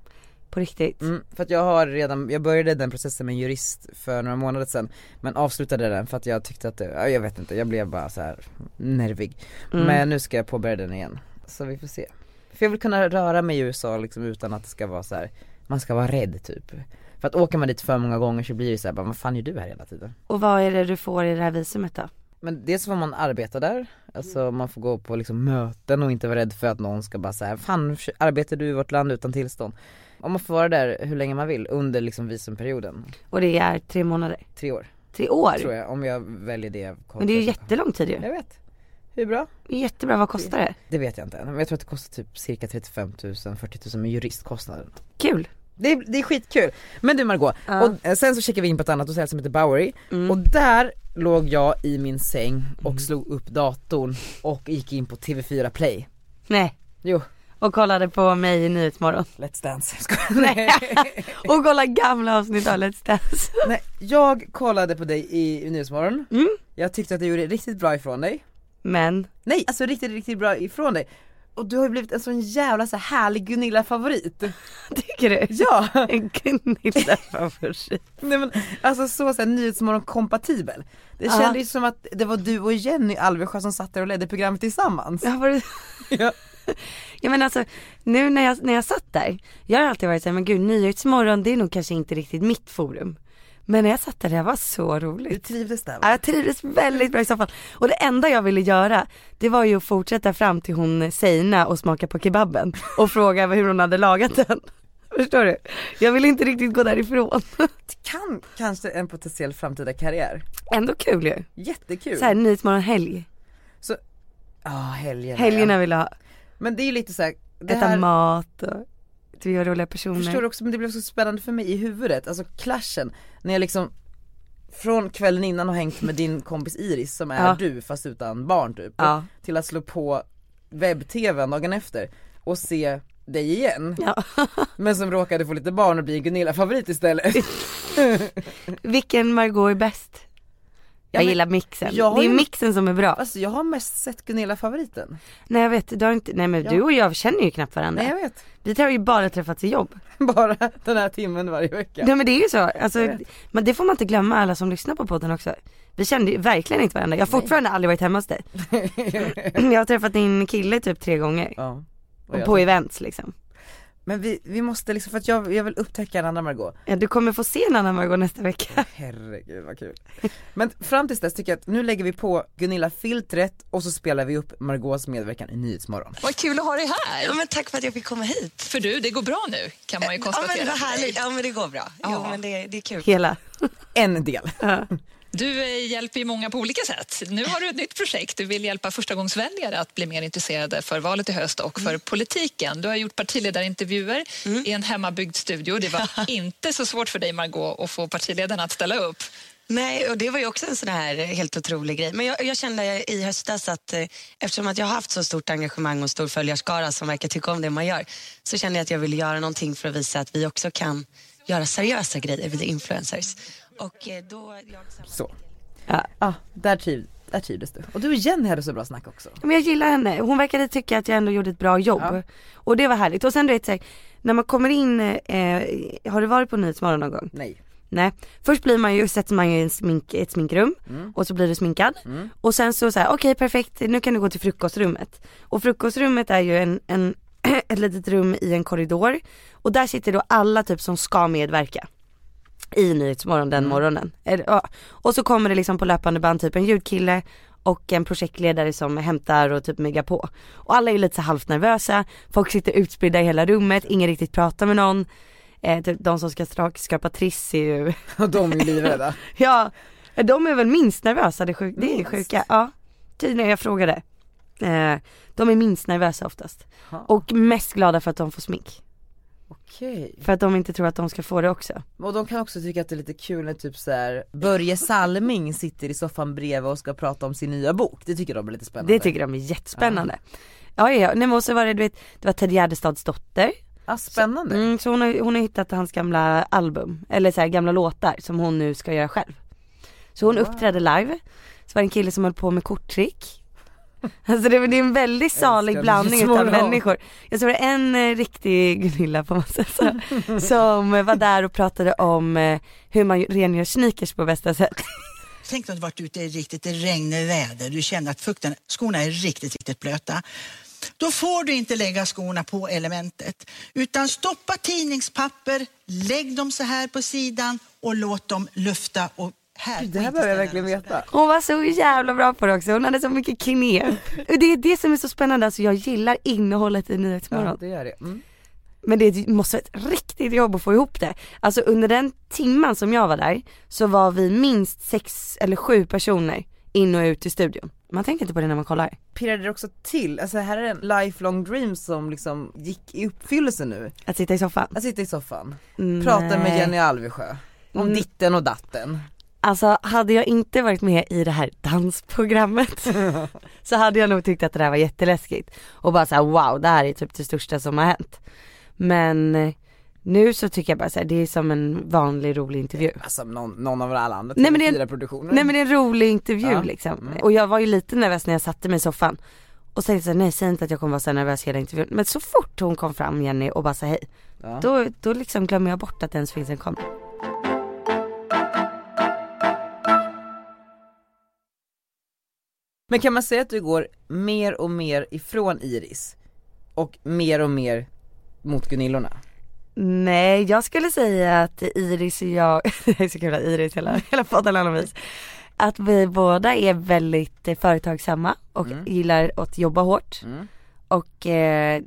[SPEAKER 2] På riktigt.
[SPEAKER 1] Mm, för att jag har redan, jag började den processen med en jurist för några månader sedan men avslutade den för att jag tyckte att det, ja, jag vet inte, jag blev bara så här nervig.
[SPEAKER 2] Mm.
[SPEAKER 1] Men nu ska jag påbörja den igen. Så vi får se. För jag vill kunna röra mig i USA liksom utan att det ska vara så här. man ska vara rädd typ. För att åker man dit för många gånger så blir det så här, bara, vad fan gör du här hela tiden?
[SPEAKER 2] Och vad är det du får i det här visumet då?
[SPEAKER 1] Men dels får man arbeta där, alltså man får gå på liksom möten och inte vara rädd för att någon ska bara säga Fan arbetar du i vårt land utan tillstånd? Och man får vara där hur länge man vill under liksom visumperioden,
[SPEAKER 2] Och det är tre månader.
[SPEAKER 1] tre år
[SPEAKER 2] Tre år?
[SPEAKER 1] tror jag om jag väljer det jag
[SPEAKER 2] Men det är ju jättelång tid ju.
[SPEAKER 1] Jag vet, hur bra?
[SPEAKER 2] Jättebra, vad kostar det?
[SPEAKER 1] Det vet jag inte än, men jag tror att det kostar typ cirka 35 000, 40 000 med juristkostnaden
[SPEAKER 2] Kul.
[SPEAKER 1] det är, det är skitkul. Men du Margot,
[SPEAKER 2] Ja.
[SPEAKER 1] och eh, sen så checkar vi in på ett annat hotell som heter Bowery
[SPEAKER 2] Mm.
[SPEAKER 1] och där låg jag i min säng och slog upp datorn och gick in på TV4 Play.
[SPEAKER 2] Nej.
[SPEAKER 1] Jo.
[SPEAKER 2] Och kollade på mig i Nyhetsmorgon.
[SPEAKER 1] Let's dance, Skojar. nej.
[SPEAKER 2] Och kolla gamla avsnitt av Let's Dance.
[SPEAKER 1] nej, jag kollade på dig i Nyhetsmorgon,
[SPEAKER 2] Mm.
[SPEAKER 1] jag tyckte att du gjorde riktigt bra ifrån dig.
[SPEAKER 2] Men,
[SPEAKER 1] Nej, alltså riktigt, riktigt bra ifrån dig. Och du har ju blivit en sån jävla så här härlig Gunilla-favorit.
[SPEAKER 2] tycker du?
[SPEAKER 1] Ja!
[SPEAKER 2] En Gunilla favorit.
[SPEAKER 1] Nej men alltså så såhär nyhetsmorgon kompatibel. Det
[SPEAKER 2] Ja.
[SPEAKER 1] kändes ju som att det var du och Jenny Alvesjö som satt där och ledde programmet tillsammans.
[SPEAKER 2] Ja, var det-
[SPEAKER 1] Ja.
[SPEAKER 2] Ja men alltså, nu när jag, när jag satt där, jag har alltid varit såhär, men gud Nyhetsmorgon det är nog kanske inte riktigt mitt forum. Men när jag satt där, det här var så
[SPEAKER 1] Du
[SPEAKER 2] roligt.
[SPEAKER 1] trivdes där
[SPEAKER 2] Ja,
[SPEAKER 1] va?
[SPEAKER 2] jag trivdes väldigt bra i soffan. Och det enda jag ville göra, det var ju att fortsätta fram till hon Seina och smaka på kebaben och fråga hur hon hade lagat den. Förstår du? Jag ville inte riktigt gå därifrån.
[SPEAKER 1] Kan kanske en potentiell framtida karriär.
[SPEAKER 2] Ändå kul ju.
[SPEAKER 1] Jättekul.
[SPEAKER 2] Såhär Nyhetsmorgon helg.
[SPEAKER 1] Ja helgerna.
[SPEAKER 2] Helgerna vill jag ha,
[SPEAKER 1] Men det är ju lite såhär, det
[SPEAKER 2] äta
[SPEAKER 1] här
[SPEAKER 2] mat och du och roliga personer.
[SPEAKER 1] förstår du också men det blev så spännande för mig i huvudet, alltså clashen. När jag liksom från kvällen innan har hängt med din kompis Iris som är
[SPEAKER 2] Ja.
[SPEAKER 1] du fast utan barn typ.
[SPEAKER 2] Ja.
[SPEAKER 1] Till att slå på webb-tvn dagen efter och se dig igen.
[SPEAKER 2] ja.
[SPEAKER 1] Men som råkade få lite barn och bli en Gunilla-favorit istället.
[SPEAKER 2] Vilken Margot är bäst? Jag
[SPEAKER 1] men-
[SPEAKER 2] gillar mixen.
[SPEAKER 1] jag har
[SPEAKER 2] det är
[SPEAKER 1] ju-
[SPEAKER 2] mixen som är bra.
[SPEAKER 1] Alltså jag har mest sett Gunilla-favoriten.
[SPEAKER 2] Nej jag vet, du har inte, nej men
[SPEAKER 1] Ja.
[SPEAKER 2] du och jag känner ju knappt varandra.
[SPEAKER 1] Nej jag vet.
[SPEAKER 2] Vi har ju bara träffats i jobb.
[SPEAKER 1] Bara den här timmen varje vecka.
[SPEAKER 2] Nej men det är ju så, alltså,
[SPEAKER 1] Jag vet.
[SPEAKER 2] men det får man inte glömma alla som lyssnar på podden också. Vi kände ju verkligen inte varandra, jag har fortfarande aldrig varit hemma hos dig. jag har träffat din kille typ tre gånger.
[SPEAKER 1] ja. Och
[SPEAKER 2] Och
[SPEAKER 1] jag.
[SPEAKER 2] på events liksom.
[SPEAKER 1] Men vi, vi måste liksom, för att jag, jag vill upptäcka en annan Margot.
[SPEAKER 2] Ja, du kommer få se en annan Margot nästa vecka.
[SPEAKER 1] Herregud vad kul. Men fram tills dess tycker jag att nu lägger vi på Gunilla-filtret och så spelar vi upp Margots medverkan i Nyhetsmorgon.
[SPEAKER 4] Vad kul att ha dig här.
[SPEAKER 2] men tack för att jag fick komma hit.
[SPEAKER 4] För du, det går bra nu kan man ju konstatera.
[SPEAKER 2] ja men det går bra.
[SPEAKER 4] Ja. men
[SPEAKER 2] det, det är kul. Hela.
[SPEAKER 1] En del.
[SPEAKER 4] Du eh, hjälper ju många på olika sätt. Nu har du ett nytt projekt. Du vill hjälpa förstagångsväljare att bli mer intresserade för valet i höst och
[SPEAKER 2] Mm.
[SPEAKER 4] för politiken. Du har gjort partiledarintervjuer i en hemmabyggd studio. Det var inte så svårt för dig, Margot, att få partiledarna att ställa upp.
[SPEAKER 5] Nej, och det var ju också en sån här helt otrolig grej. Men jag, jag kände i höstas att eh, eftersom att jag har haft så stort engagemang och stor följarskara som verkar tycka om det man gör, så kände jag att jag ville göra någonting för att visa att vi också kan göra seriösa grejer, vi är influencers. Och eh, då... Jag...
[SPEAKER 1] Så.
[SPEAKER 2] Ja.
[SPEAKER 1] ah, där, triv, där trivdes du. Och du och Jenny hade så bra snack också.
[SPEAKER 2] Men jag gillar henne. Hon verkade tycka att jag ändå gjorde ett bra jobb.
[SPEAKER 1] Ja.
[SPEAKER 2] Och det var härligt. Och sen du vet så här, när man kommer in, eh, har du varit på Nyhetsmorgon någon gång?
[SPEAKER 1] Nej.
[SPEAKER 2] Nej. Först blir man ju, sätts man ju i en smink, ett sminkrum och så blir du sminkad. Och sen så säger okej perfekt, nu kan du gå till frukostrummet. Och frukostrummet är ju en, en ett litet rum i en korridor och där sitter då alla typ som ska medverka i Nyhetsmorgon den morgonen. Eller, ja. Och så kommer det liksom på löpande band typ en ljudkille och en projektledare som hämtar och typ myggar på. Och alla är ju lite så halvt nervösa, folk sitter utspridda i hela rummet, ingen riktigt pratar med någon. Eh, typ de som ska stra- skapa triss är ju,
[SPEAKER 1] Och de är ju livrädda.
[SPEAKER 2] ja de är väl minst nervösa, det är, sjuk- det är sjuka. Ja, tydligen, jag frågade. Eh, de är minst nervösa oftast.
[SPEAKER 1] Ha.
[SPEAKER 2] Och mest glada för att de får smink.
[SPEAKER 1] Okej.
[SPEAKER 2] För att de inte tror att de ska få det också.
[SPEAKER 1] Och de kan också tycka att det är lite kul när typ så här Börje Salming sitter i soffan bredvid och ska prata om sin nya bok. Det tycker de är lite spännande.
[SPEAKER 2] Det tycker de är jättespännande. Ja, ja, ja. Nej, men och så var det, du vet, det var Ted Gärdestads dotter.
[SPEAKER 1] ah, spännande.
[SPEAKER 2] Mm, så hon har, hon har hittat hans gamla album, eller så här, gamla låtar som hon nu ska göra själv. Så hon uppträdde live, så var det en kille som höll på med korttrick. Alltså det, det är en väldigt salig
[SPEAKER 1] Älskar
[SPEAKER 2] blandning
[SPEAKER 1] Microsoft.
[SPEAKER 2] utav människor. Jag såg det en eh, riktig Gunilla på massa så, som eh, var där och pratade om eh, hur man rengör sneakers på bästa sätt.
[SPEAKER 6] Tänk om du varit ute i riktigt regn och väder. Du känner att fukten, skorna är riktigt, riktigt blöta. Då får du inte lägga skorna på elementet. Utan stoppa tidningspapper, lägg dem så här på sidan och låt dem lufta. Och här,
[SPEAKER 1] Gud, det
[SPEAKER 6] och
[SPEAKER 1] här
[SPEAKER 6] inte
[SPEAKER 1] behöver jag
[SPEAKER 6] ställa
[SPEAKER 1] verkligen
[SPEAKER 6] dem så där.
[SPEAKER 1] veta.
[SPEAKER 2] Hon var så jävla bra på det också, hon hade så mycket knep. Och Det är det som är så spännande, alltså jag gillar innehållet i Nyhetsmorgon.
[SPEAKER 1] Ja, det gör det. Mm.
[SPEAKER 2] Men det måste vara ett riktigt jobb att få ihop det. Alltså under den timman som jag var där så var vi minst sex eller sju personer in och ut i studion. Man tänker inte på det när man kollar.
[SPEAKER 1] Pirrade det också till? Alltså här är en lifelong dream som liksom gick i uppfyllelse nu.
[SPEAKER 2] Att sitta i soffan.
[SPEAKER 1] Att sitta i soffan, prata med
[SPEAKER 2] Mm. Nej.
[SPEAKER 1] Jenny Alvesjö. Om
[SPEAKER 2] Mm.
[SPEAKER 1] ditten och datten.
[SPEAKER 2] Alltså hade jag inte varit med i det här dansprogrammet så hade jag nog tyckt att det där var jätteläskigt. Och bara såhär wow det här är typ det största som har hänt. Men eh, nu så tycker jag bara såhär det är som en vanlig rolig intervju.
[SPEAKER 1] Alltså någon, någon av alla andra
[SPEAKER 2] Nej, men det-
[SPEAKER 1] TV4-produktioner.
[SPEAKER 2] Nej men det är en rolig intervju
[SPEAKER 1] Ja.
[SPEAKER 2] liksom.
[SPEAKER 1] Mm.
[SPEAKER 2] Och jag var ju lite nervös när jag satte mig i soffan. Och tänkte såhär, nej säg inte att jag kommer vara så här nervös hela intervjun. Men så fort hon kom fram Jenny och bara sa hej.
[SPEAKER 1] Ja.
[SPEAKER 2] Då, då liksom glömmer jag bort att det ens finns en kamera.
[SPEAKER 1] Men kan man säga att du går mer och mer ifrån Iris? Och mer och mer mot Gunillorna?
[SPEAKER 2] Nej jag skulle säga att Iris och jag, det är så kul att Iris hela, hela podden handlar om Iris. Att vi båda är väldigt eh, företagsamma och gillar att jobba hårt.
[SPEAKER 1] Mm.
[SPEAKER 2] Och eh,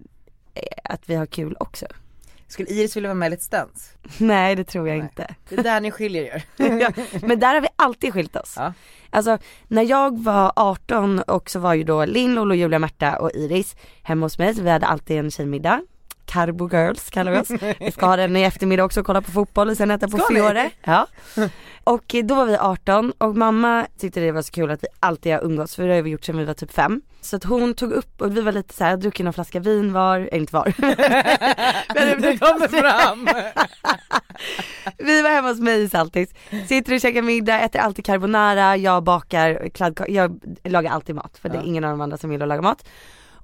[SPEAKER 2] att vi har kul också.
[SPEAKER 1] Skulle Iris vilja vara med i Let's Dance?
[SPEAKER 2] Nej det tror jag
[SPEAKER 1] Nej.
[SPEAKER 2] inte.
[SPEAKER 1] Det är där ni skiljer er.
[SPEAKER 2] ja, men där har vi alltid skilt oss.
[SPEAKER 1] Ja.
[SPEAKER 2] Alltså när jag var 18 och så var ju då Linn, Lollo, Julia, Märta och Iris hemma hos mig så vi hade alltid en tjejmiddag. Carbo Girls kallar vi oss. Vi ska ha den i eftermiddag också och kolla på fotboll och sen äta på
[SPEAKER 1] Ska ni?
[SPEAKER 2] Fiore. Ja. Och eh, då var vi 18 och mamma tyckte det var så kul att vi alltid har umgåtts för det har vi gjort sedan vi var typ 5. Så att hon tog upp och vi var lite såhär, druckit någon flaska vin var, eller inte var. Men
[SPEAKER 1] Det kommer fram!
[SPEAKER 2] Vi var hemma hos mig i Saltis, sitter och käkar middag, äter alltid carbonara, jag bakar kladdkakor, jag lagar alltid mat för det är
[SPEAKER 1] Ja.
[SPEAKER 2] ingen av de andra som gillar att laga mat.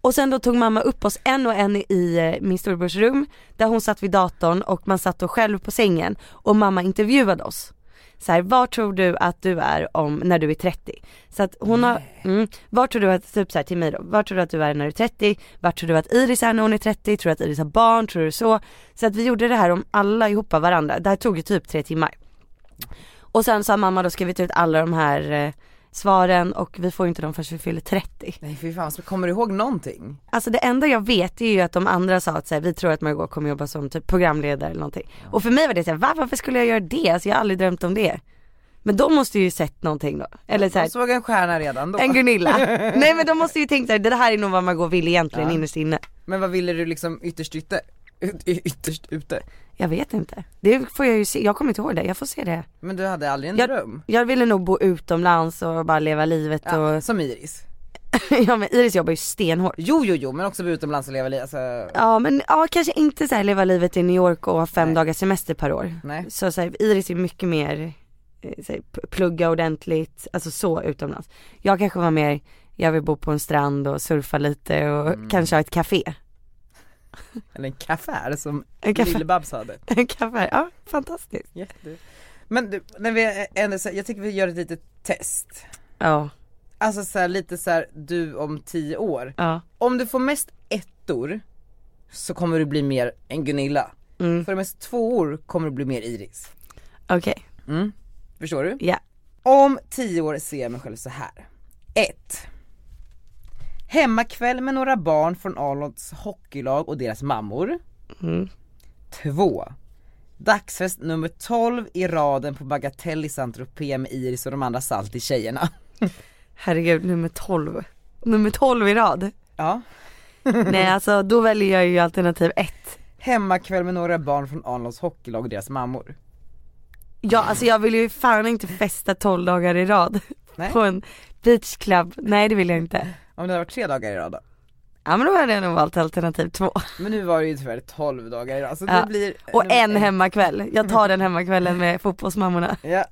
[SPEAKER 2] Och sen då tog mamma upp oss en och en i eh, min storebrors rum där hon satt vid datorn och man satt då själv på sängen och mamma intervjuade oss. Så här, var tror du att du är om, när du är 30? Så att hon har, mm, var tror du att, typ så här till mig då, var tror du att du är när du är 30? Var tror du att Iris är när hon är 30? Tror du att Iris har barn? Tror du så? Så att vi gjorde det här om alla ihop av varandra, det här tog ju typ tre timmar. Och sen så har mamma då skrivit ut alla de här eh, svaren och vi får ju inte dem förrän vi fyller 30.
[SPEAKER 1] Nej fy fan, så kommer du ihåg någonting?
[SPEAKER 2] Alltså det enda jag vet är ju att de andra sa att så här, vi tror att Margot kommer jobba som typ programledare eller någonting. Och för mig var det så här, va varför skulle jag göra det? Alltså jag har aldrig drömt om det. Men de måste ju sett någonting då. Eller så här,
[SPEAKER 1] Jag såg en stjärna redan då.
[SPEAKER 2] en Gunilla. Nej men de måste ju tänkt så här, det här är nog vad Margot vill egentligen innerst inne.
[SPEAKER 1] Men vad ville du liksom ytterst ute? Ut- y- Ytterst ute?
[SPEAKER 2] Jag vet inte. Det får jag ju se, jag kommer inte ihåg det, jag får se det.
[SPEAKER 1] Men du hade aldrig en dröm?
[SPEAKER 2] Jag ville nog bo utomlands och bara leva livet
[SPEAKER 1] Ja,
[SPEAKER 2] och,
[SPEAKER 1] som Iris?
[SPEAKER 2] ja men Iris jobbar ju stenhårt.
[SPEAKER 1] Jo jo jo, men också bo utomlands och leva liv, alltså,
[SPEAKER 2] Ja men ja, kanske inte så här leva livet i New York och ha fem dagars semester per år.
[SPEAKER 1] nej.
[SPEAKER 2] Så, så här, Iris är mycket mer, eh, så här, p- plugga ordentligt, alltså så utomlands. Jag kanske var mer, jag vill bo på en strand och surfa lite och kanske ha ett café.
[SPEAKER 1] Eller en kaffär som
[SPEAKER 2] En café,
[SPEAKER 1] Lill-Babs hade.
[SPEAKER 2] en café. ja fantastiskt.
[SPEAKER 1] Jätte. Men du, när vi ändå, så- jag tycker vi gör ett litet test.
[SPEAKER 2] Ja,
[SPEAKER 1] Alltså så här, lite så här, du om tio år.
[SPEAKER 2] ja.
[SPEAKER 1] Om du får mest ettor så kommer du bli mer en Gunilla.
[SPEAKER 2] Mm.
[SPEAKER 1] Får du mest tvåor kommer du bli mer Iris.
[SPEAKER 2] Okej,
[SPEAKER 1] Mm. Förstår du?
[SPEAKER 2] ja.
[SPEAKER 1] Om tio år ser jag mig själv så här. 1. Hemmakväll med några barn från Arnolds hockeylag och deras mammor.
[SPEAKER 2] Mm.
[SPEAKER 1] 2. Dagsfest nummer 12 i raden på Bagatell i saint med Iris och de andra saltig tjejerna.
[SPEAKER 2] Herregud, nummer 12. Nummer 12 i rad.
[SPEAKER 1] Ja.
[SPEAKER 2] Nej alltså då väljer jag ju alternativ ett.
[SPEAKER 1] hemmakväll med några barn från Arnolds hockeylag och deras mammor.
[SPEAKER 2] Ja alltså jag vill ju fan inte festa 12 dagar i rad
[SPEAKER 1] Nej.
[SPEAKER 2] på en beach club. Nej det vill jag inte.
[SPEAKER 1] Om det hade varit tre dagar i rad då.
[SPEAKER 2] Ja men då hade jag nog valt alternativ två.
[SPEAKER 1] Men nu var det ju tyvärr 12 dagar i rad så
[SPEAKER 2] Ja.
[SPEAKER 1] det blir
[SPEAKER 2] Och en Mm. hemmakväll. Jag tar den hemmakvällen med fotbollsmammorna.
[SPEAKER 1] Ja.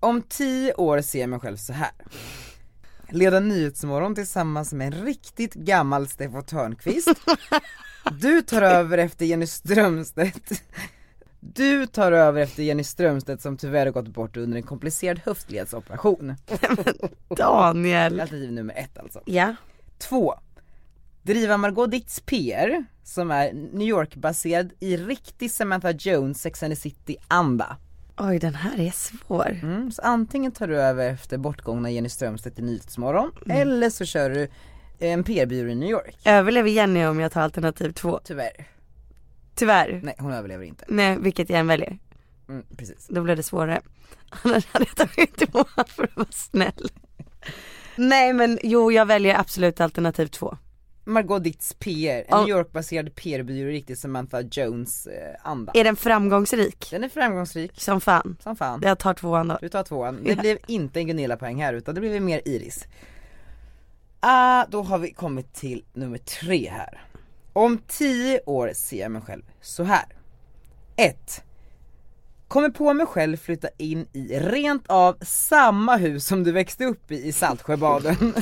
[SPEAKER 1] Om tio år ser jag mig själv så här. Leda Nyhetsmorgon tillsammans med en riktigt gammal Steffo Törnqvist. Du tar över efter Jenny Strömstedt. Du tar över efter Jenny Strömstedt som tyvärr gått bort under en komplicerad höftledsoperation.
[SPEAKER 2] Daniel.
[SPEAKER 1] Alternativ nummer ett alltså.
[SPEAKER 2] Ja.
[SPEAKER 1] Två. Driva Margot Ditts PR, som är New York-baserad i riktig Samantha Jones, Sex and the City-anda.
[SPEAKER 2] Oj den här är svår.
[SPEAKER 1] Mm, så antingen tar du över efter bortgångna Jenny Strömstedt i Nyhetsmorgon eller så kör du en PR-byrå i New York.
[SPEAKER 2] Överlever Jenny om jag tar alternativ två?
[SPEAKER 1] Tyvärr.
[SPEAKER 2] Tyvärr.
[SPEAKER 1] Nej hon överlever inte.
[SPEAKER 2] Nej vilket jag än väljer.
[SPEAKER 1] Mm, precis.
[SPEAKER 2] Då blev det svårare. Annars hade jag tagit emot för att vara snäll. Nej men jo jag väljer absolut alternativ två.
[SPEAKER 1] Margot Ditts PR, en
[SPEAKER 2] Ja.
[SPEAKER 1] New York-baserad PR-byrå i riktig Samantha Jones eh, anda.
[SPEAKER 2] Är den framgångsrik?
[SPEAKER 1] Den är framgångsrik
[SPEAKER 2] Som fan.
[SPEAKER 1] som fan.
[SPEAKER 2] Jag tar tvåan då.
[SPEAKER 1] Du tar tvåan. Det blev inte en Gunilla-poäng här utan det blev mer Iris. Ah, då har vi kommit till nummer tre här. Om tio år ser jag mig själv så här. 1. Kommer på mig själv flytta in i rent av samma hus som du växte upp i i Saltsjöbaden.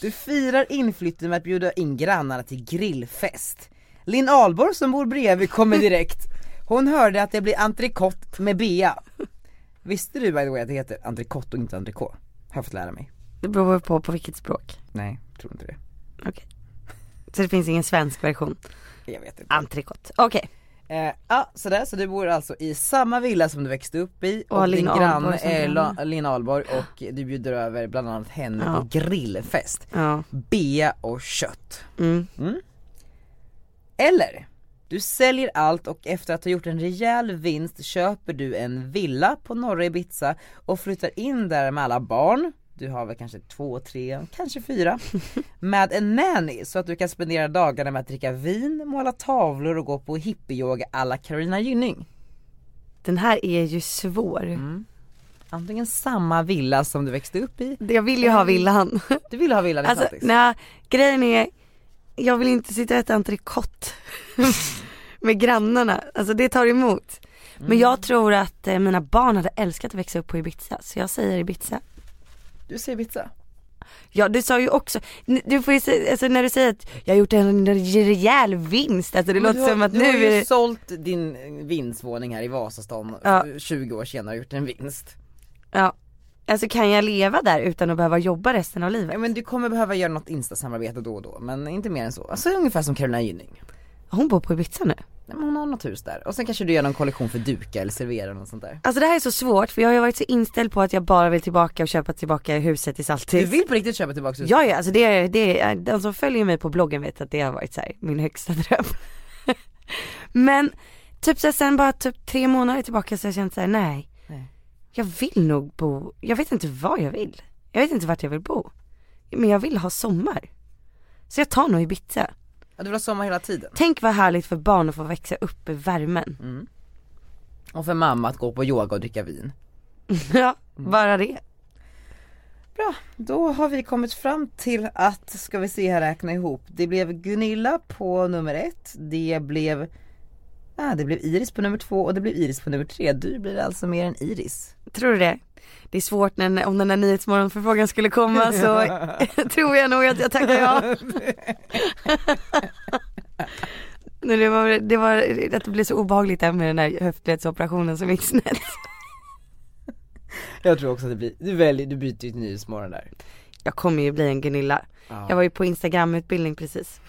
[SPEAKER 1] Du firar inflytten med att bjuda in grannarna till grillfest. Linn Ahlborg som bor bredvid kommer direkt. Hon hörde att det blir entrecote med bea. Visste du by the way att det heter entrecote och inte entrecote? Har jag fått lära mig.
[SPEAKER 2] Det beror på på vilket språk.
[SPEAKER 1] Nej, tror inte det.
[SPEAKER 2] Okej. Så det finns ingen svensk version.
[SPEAKER 1] Jag vet
[SPEAKER 2] Ah.
[SPEAKER 1] inte.
[SPEAKER 2] Entrecote. Okej.
[SPEAKER 1] Eh, ja, sådär, så du bor alltså i samma villa som du växte upp i
[SPEAKER 2] Och har
[SPEAKER 1] och din
[SPEAKER 2] Lina
[SPEAKER 1] granne
[SPEAKER 2] Ahlborg som
[SPEAKER 1] är
[SPEAKER 2] granne.
[SPEAKER 1] La- Lina Ahlborg och du bjuder över bland annat henne
[SPEAKER 2] Ja.
[SPEAKER 1] på grillfest.
[SPEAKER 2] Ja.
[SPEAKER 1] Bea och kött.
[SPEAKER 2] Mm.
[SPEAKER 1] Eller, du säljer allt och efter att ha gjort en rejäl vinst köper du en villa på norra Ibiza och flyttar in där med alla barn. Du har väl kanske två, tre, kanske fyra. Med en nanny så att du kan spendera dagarna med att dricka vin, måla tavlor och gå på hippieyoga alla Carolina Gynning.
[SPEAKER 2] Den här är ju svår.
[SPEAKER 1] Antingen samma villa som du växte upp i.
[SPEAKER 2] Jag vill ju ha
[SPEAKER 1] Mm.
[SPEAKER 2] villan.
[SPEAKER 1] Du ville ha villan i
[SPEAKER 2] Alltså
[SPEAKER 1] Saltis.
[SPEAKER 2] nej, grejen är, jag vill inte sitta och äta entrecote med grannarna. Alltså det tar emot.
[SPEAKER 1] Mm.
[SPEAKER 2] Men jag tror att eh, mina barn hade älskat att växa upp på Ibiza, så jag säger Ibiza.
[SPEAKER 1] Du ser Ibiza.
[SPEAKER 2] Ja du sa ju också, n- du får ju säga, alltså när du säger att jag har gjort en rejäl vinst, alltså det
[SPEAKER 1] Men
[SPEAKER 2] låter
[SPEAKER 1] du har,
[SPEAKER 2] som att
[SPEAKER 1] du har
[SPEAKER 2] nu
[SPEAKER 1] ju
[SPEAKER 2] är det,
[SPEAKER 1] sålt din eh, vindsvåning här i Vasastan
[SPEAKER 2] Ja.
[SPEAKER 1] 20 år senare och gjort en vinst.
[SPEAKER 2] ja. Alltså kan jag leva där utan att behöva jobba resten av
[SPEAKER 1] Ja,
[SPEAKER 2] livet?
[SPEAKER 1] men du kommer behöva göra något instasamarbete då och då men inte mer än så. Alltså ungefär som Carolina Gynning.
[SPEAKER 2] Hon bor på Ibiza nu.
[SPEAKER 1] Nej, men hon har något hus där. Och sen kanske du gör någon kollektion för duka eller servera eller något sånt där.
[SPEAKER 2] Alltså det här är så svårt för jag har ju varit så inställd på att jag bara vill tillbaka och köpa tillbaka huset i
[SPEAKER 1] Du
[SPEAKER 2] Saltis.
[SPEAKER 1] vill på riktigt köpa tillbaka huset?
[SPEAKER 2] Ja, ja alltså det, det, den som följer mig på bloggen vet att det har varit så här, min högsta dröm. Men typ så här, sen bara typ tre månader tillbaka så har jag känt så här, nej.
[SPEAKER 1] Nej.
[SPEAKER 2] Jag vill nog bo, jag vet inte vad jag vill. Jag vet inte vart jag vill bo. Men jag vill ha sommar. Så jag tar nog Ibiza.
[SPEAKER 1] Ja, Du vill ha sommar hela tiden.
[SPEAKER 2] Tänk vad härligt för barn att få växa upp i värmen.
[SPEAKER 1] Mm. Och för mamma att gå på yoga och dricka vin.
[SPEAKER 2] ja, bara det.
[SPEAKER 1] Bra, då har vi kommit fram till att, ska vi se här räkna ihop. Det blev Gunilla på nummer ett, det blev, ah, det blev Iris på nummer två och det blev Iris på nummer tre. Du blir alltså mer än Iris.
[SPEAKER 2] Tror du det? Det är svårt när, om den där nyhetsmorgonförfrågan skulle komma så tror jag nog att jag tackar ja. Nej, det, var, det var att det blev så obehagligt där med den här höftledsoperationen som gick snett.
[SPEAKER 1] Jag tror också att det blir, du väljer, du byter ju till Nyhetsmorgon där.
[SPEAKER 2] Jag kommer ju bli en Gunilla.
[SPEAKER 1] Ja.
[SPEAKER 2] Jag var ju på instagramutbildning precis.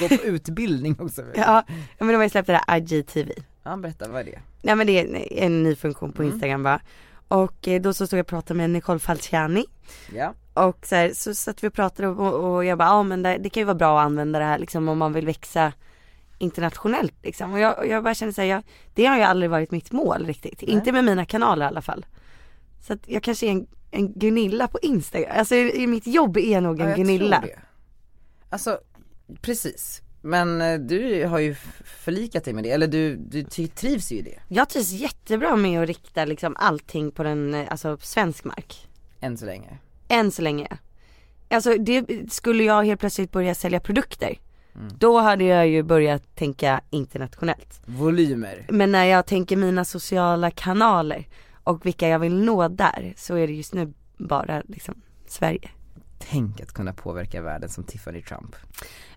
[SPEAKER 1] Gå på utbildning också.
[SPEAKER 2] Ja, men de har ju släppt det där IGTV.
[SPEAKER 1] Ja, berätta, vad är det?
[SPEAKER 2] Nej men det är en, en ny funktion på instagram va. Och eh, då så stod jag och pratade med Nicole Falciani
[SPEAKER 1] Ja.
[SPEAKER 2] Och så, här, så satt vi och pratade och, och jag bara, ja men det, det kan ju vara bra att använda det här liksom om man vill växa internationellt liksom. Och jag, och jag bara känner såhär, jag- det har ju aldrig varit mitt mål riktigt. Inte med mina kanaler i alla fall. Så att jag kanske är en, en Gunilla på Instagram. Alltså i, i mitt jobb är jag nog en
[SPEAKER 1] Ja, jag
[SPEAKER 2] Gunilla.
[SPEAKER 1] tror det. Alltså, precis. Men eh, du har ju f- förlikat dig med det, eller du, du ty- trivs ju i det,
[SPEAKER 2] Jag trivs jättebra med att rikta liksom allting på den, eh, alltså svensk mark.
[SPEAKER 1] än så länge
[SPEAKER 2] Än så länge. Alltså det, skulle jag helt plötsligt börja sälja produkter. Då hade jag ju börjat tänka internationellt.
[SPEAKER 1] Volymer
[SPEAKER 2] Men när jag tänker mina sociala kanaler och vilka jag vill nå där så är det just nu bara liksom Sverige.
[SPEAKER 1] Tänk att kunna påverka världen som Tiffany Trump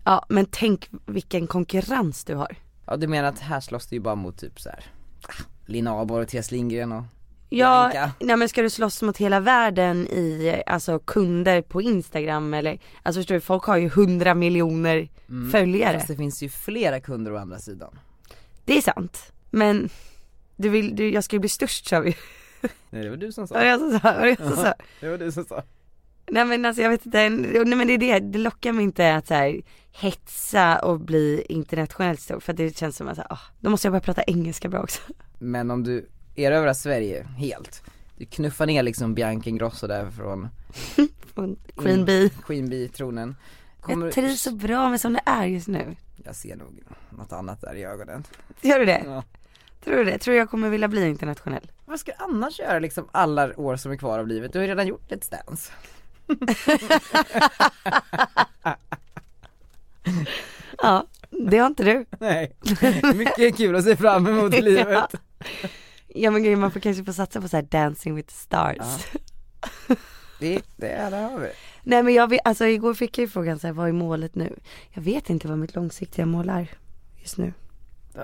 [SPEAKER 2] Ja men tänk vilken konkurrens du har.
[SPEAKER 1] Ja du menar att här slåss det ju bara mot typ så här. ah, Lina Aborg och Theis Lindgren och
[SPEAKER 2] Ja,
[SPEAKER 1] Bianca.
[SPEAKER 2] nej men ska du slåss mot hela världen i eh, alltså kunder på Instagram eller, alltså förstår du, folk har ju 100 miljoner följare.
[SPEAKER 1] Fast det finns ju flera kunder å andra sidan
[SPEAKER 2] Det är sant. Men du vill, du, jag ska ju bli störst sa vi
[SPEAKER 1] Nej det var du som sa
[SPEAKER 2] Var det jag som sa? Var det jag som sa?
[SPEAKER 1] Det var du som sa
[SPEAKER 2] Nej men alltså jag vet inte, nej men det är det, det lockar mig inte att så här, hetsa och bli internationellt stor för att det känns som att så här, ah, då måste jag börja prata engelska bra också.
[SPEAKER 1] Men om du erövrar Sverige helt Du knuffar ner liksom Bianca Ingrosso där från
[SPEAKER 2] Från Queen Bee.
[SPEAKER 1] Queen Bee-tronen Mm. Kommer-
[SPEAKER 2] Jag trivs så bra med som det är just nu.
[SPEAKER 1] Jag ser nog något annat där i ögonen
[SPEAKER 2] Gör du det?
[SPEAKER 1] Ja.
[SPEAKER 2] Tror du det? Tror du jag kommer vilja bli internationell?
[SPEAKER 1] Vad ska du annars göra liksom alla år som är kvar av livet? Du har ju redan gjort ett stans
[SPEAKER 2] Ja, det har inte du.
[SPEAKER 1] Nej, mycket kul att se fram emot i
[SPEAKER 2] Ja.
[SPEAKER 1] livet
[SPEAKER 2] Ja men gud, man får kanske få satsa på så här dancing with the stars.
[SPEAKER 1] Det, det, det har vi
[SPEAKER 2] Nej men jag vet, alltså igår fick jag ju frågan så här, vad är målet nu? Jag vet inte vad mitt långsiktiga mål är just nu.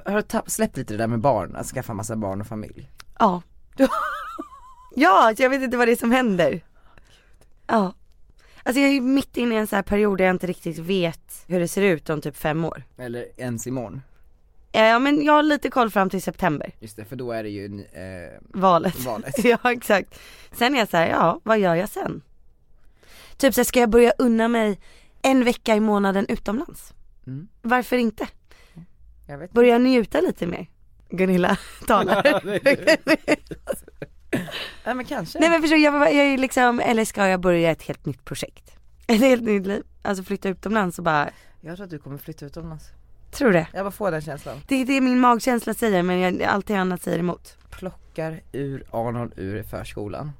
[SPEAKER 1] Har du tapp, släppt lite det där med barn, att skaffa massa barn och familj?
[SPEAKER 2] Ja. ja, alltså, jag vet inte vad det är som händer. Ja. Alltså jag är ju mitt inne i en så här period där jag inte riktigt vet hur det ser ut om typ fem år.
[SPEAKER 1] Eller ens imorgon,
[SPEAKER 2] Eh, Ja men jag har lite koll fram till september,
[SPEAKER 1] just det, för då är det ju en, eh,
[SPEAKER 2] valet.
[SPEAKER 1] valet
[SPEAKER 2] ja exakt. Sen är jag så här, ja vad gör jag sen? Typ så här, ska jag börja unna mig en vecka i månaden utomlands?
[SPEAKER 1] Mm.
[SPEAKER 2] Varför inte?
[SPEAKER 1] Jag vet
[SPEAKER 2] Börja njuta lite mer. Gunilla talar.
[SPEAKER 1] Nej men kanske
[SPEAKER 2] Nej men förstår du, jag, jag är liksom, eller ska jag börja ett helt nytt projekt? Ett helt nytt liv. Alltså flytta utomlands och bara,
[SPEAKER 1] Jag tror att du kommer flytta utomlands
[SPEAKER 2] tror det.
[SPEAKER 1] Jag bara får den känslan
[SPEAKER 2] Det är det min magkänsla säger men jag, allting annat säger emot.
[SPEAKER 1] Plockar ur Arnold ur förskolan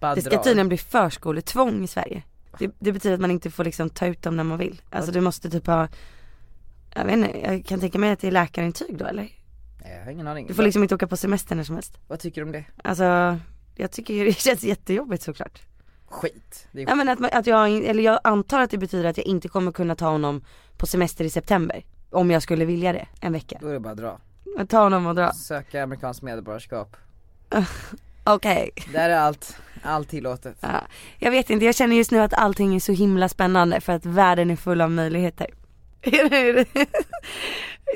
[SPEAKER 1] Bara
[SPEAKER 2] Det ska
[SPEAKER 1] drar.
[SPEAKER 2] tydligen bli förskoletvång i Sverige. Det, det betyder att man inte får liksom ta ut dem när man vill. Alltså du måste typ ha, jag vet inte, jag kan tänka mig att det är läkarintyg då eller?
[SPEAKER 1] Nej, Eh, jag har ingen aning
[SPEAKER 2] Du får liksom inte åka på semester när som helst.
[SPEAKER 1] Vad tycker du om det?
[SPEAKER 2] Alltså, jag tycker ju det känns jättejobbigt såklart.
[SPEAKER 1] Skit Det är
[SPEAKER 2] Ja men att, man- att jag, eller jag antar att det betyder att jag inte kommer kunna ta honom på semester i september. Om jag skulle vilja det, en vecka.
[SPEAKER 1] Då är det bara att dra.
[SPEAKER 2] Men Ta honom och dra.
[SPEAKER 1] Söka amerikanskt medborgarskap.
[SPEAKER 2] Okej.
[SPEAKER 1] Där är allt, allt tillåtet.
[SPEAKER 2] Ja. Jag vet inte, jag känner just nu att allting är så himla spännande för att världen är full av möjligheter. Är det- är det-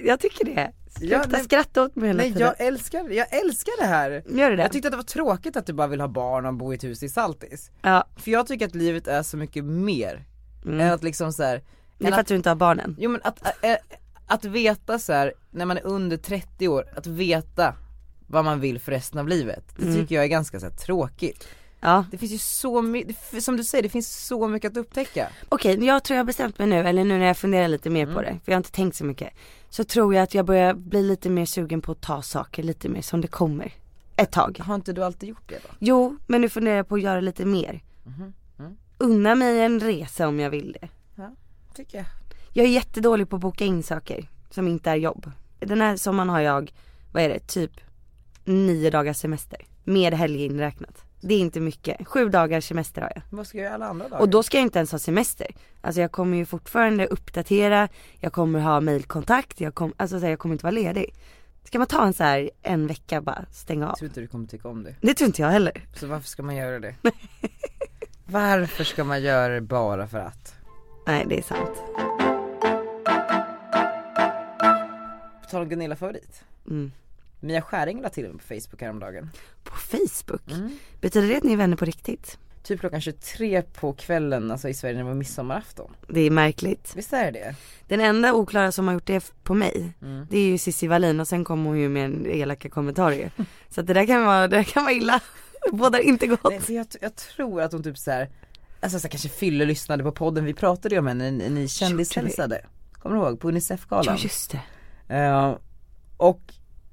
[SPEAKER 2] jag tycker det.
[SPEAKER 1] Ja,
[SPEAKER 2] Sluta
[SPEAKER 1] nej-
[SPEAKER 2] skratta åt mig hela
[SPEAKER 1] Nej
[SPEAKER 2] tiden.
[SPEAKER 1] jag älskar, jag älskar det här.
[SPEAKER 2] Gör du det?
[SPEAKER 1] Jag tyckte att det var tråkigt att du bara vill ha barn och bo i ett hus i Saltis.
[SPEAKER 2] ja.
[SPEAKER 1] För jag tycker att livet är så mycket mer än
[SPEAKER 2] mm.
[SPEAKER 1] att liksom så här,
[SPEAKER 2] Det är för att du inte har barnen.
[SPEAKER 1] jo men att, äh, att veta så här när man är under 30 år, att veta vad man vill för resten av livet. Det
[SPEAKER 2] Mm.
[SPEAKER 1] tycker jag är ganska så här, tråkigt.
[SPEAKER 2] Ja.
[SPEAKER 1] Det finns ju så mycket, som du säger det finns så mycket att upptäcka.
[SPEAKER 2] Okej, jag tror jag har bestämt mig nu, eller nu när jag funderar lite mer på det, för jag har inte tänkt så mycket. Så tror jag att jag börjar bli lite mer sugen på att ta saker lite mer som det kommer. Ett tag.
[SPEAKER 1] Har inte du alltid gjort det då?
[SPEAKER 2] Jo, men nu funderar jag på att göra lite mer. Unna mig en resa om jag vill det.
[SPEAKER 1] Tycker jag.
[SPEAKER 2] Jag är jättedålig på att boka in saker som inte är jobb. Den här sommaren har jag, vad är det, typ nio dagars semester. Med helg inräknat. Det är inte mycket. Sju dagars semester har jag.
[SPEAKER 1] Vad ska jag göra alla andra dagar?
[SPEAKER 2] Och då ska jag inte ens ha semester. Alltså jag kommer ju fortfarande uppdatera, jag kommer ha mailkontakt, jag, kom, alltså så här, jag kommer inte vara ledig. Ska man ta en så här en vecka bara stänga av?
[SPEAKER 1] Jag tror inte du kommer tycka om det.
[SPEAKER 2] Det tror inte jag heller.
[SPEAKER 1] Så varför ska man göra det? varför ska man göra det bara för att?
[SPEAKER 2] Nej det är sant.
[SPEAKER 1] På tal om Gunilla favorit.
[SPEAKER 2] Mm.
[SPEAKER 1] Mia Skäring la till mig på Facebook häromdagen.
[SPEAKER 2] På Facebook? Betyder det att ni är vänner på riktigt?
[SPEAKER 1] Typ klockan 23 på kvällen, alltså i Sverige när det var midsommarafton.
[SPEAKER 2] Det är märkligt.
[SPEAKER 1] Visst är det
[SPEAKER 2] Den enda oklara som har gjort det på mig, det är ju Cissi Wallin och sen kom hon ju med en elaka kommentar ju. Så att det där kan vara, det där kan vara illa. Bådar inte gott.
[SPEAKER 1] Nej, för jag, jag tror att hon typ så här, alltså så här, kanske fyller lyssnade på podden, vi pratade ju om henne i, i
[SPEAKER 2] Gjorde vi?
[SPEAKER 1] Kändishälsade. Kommer du ihåg? På Unicef-galan.
[SPEAKER 2] Ja just det.
[SPEAKER 1] Eh, och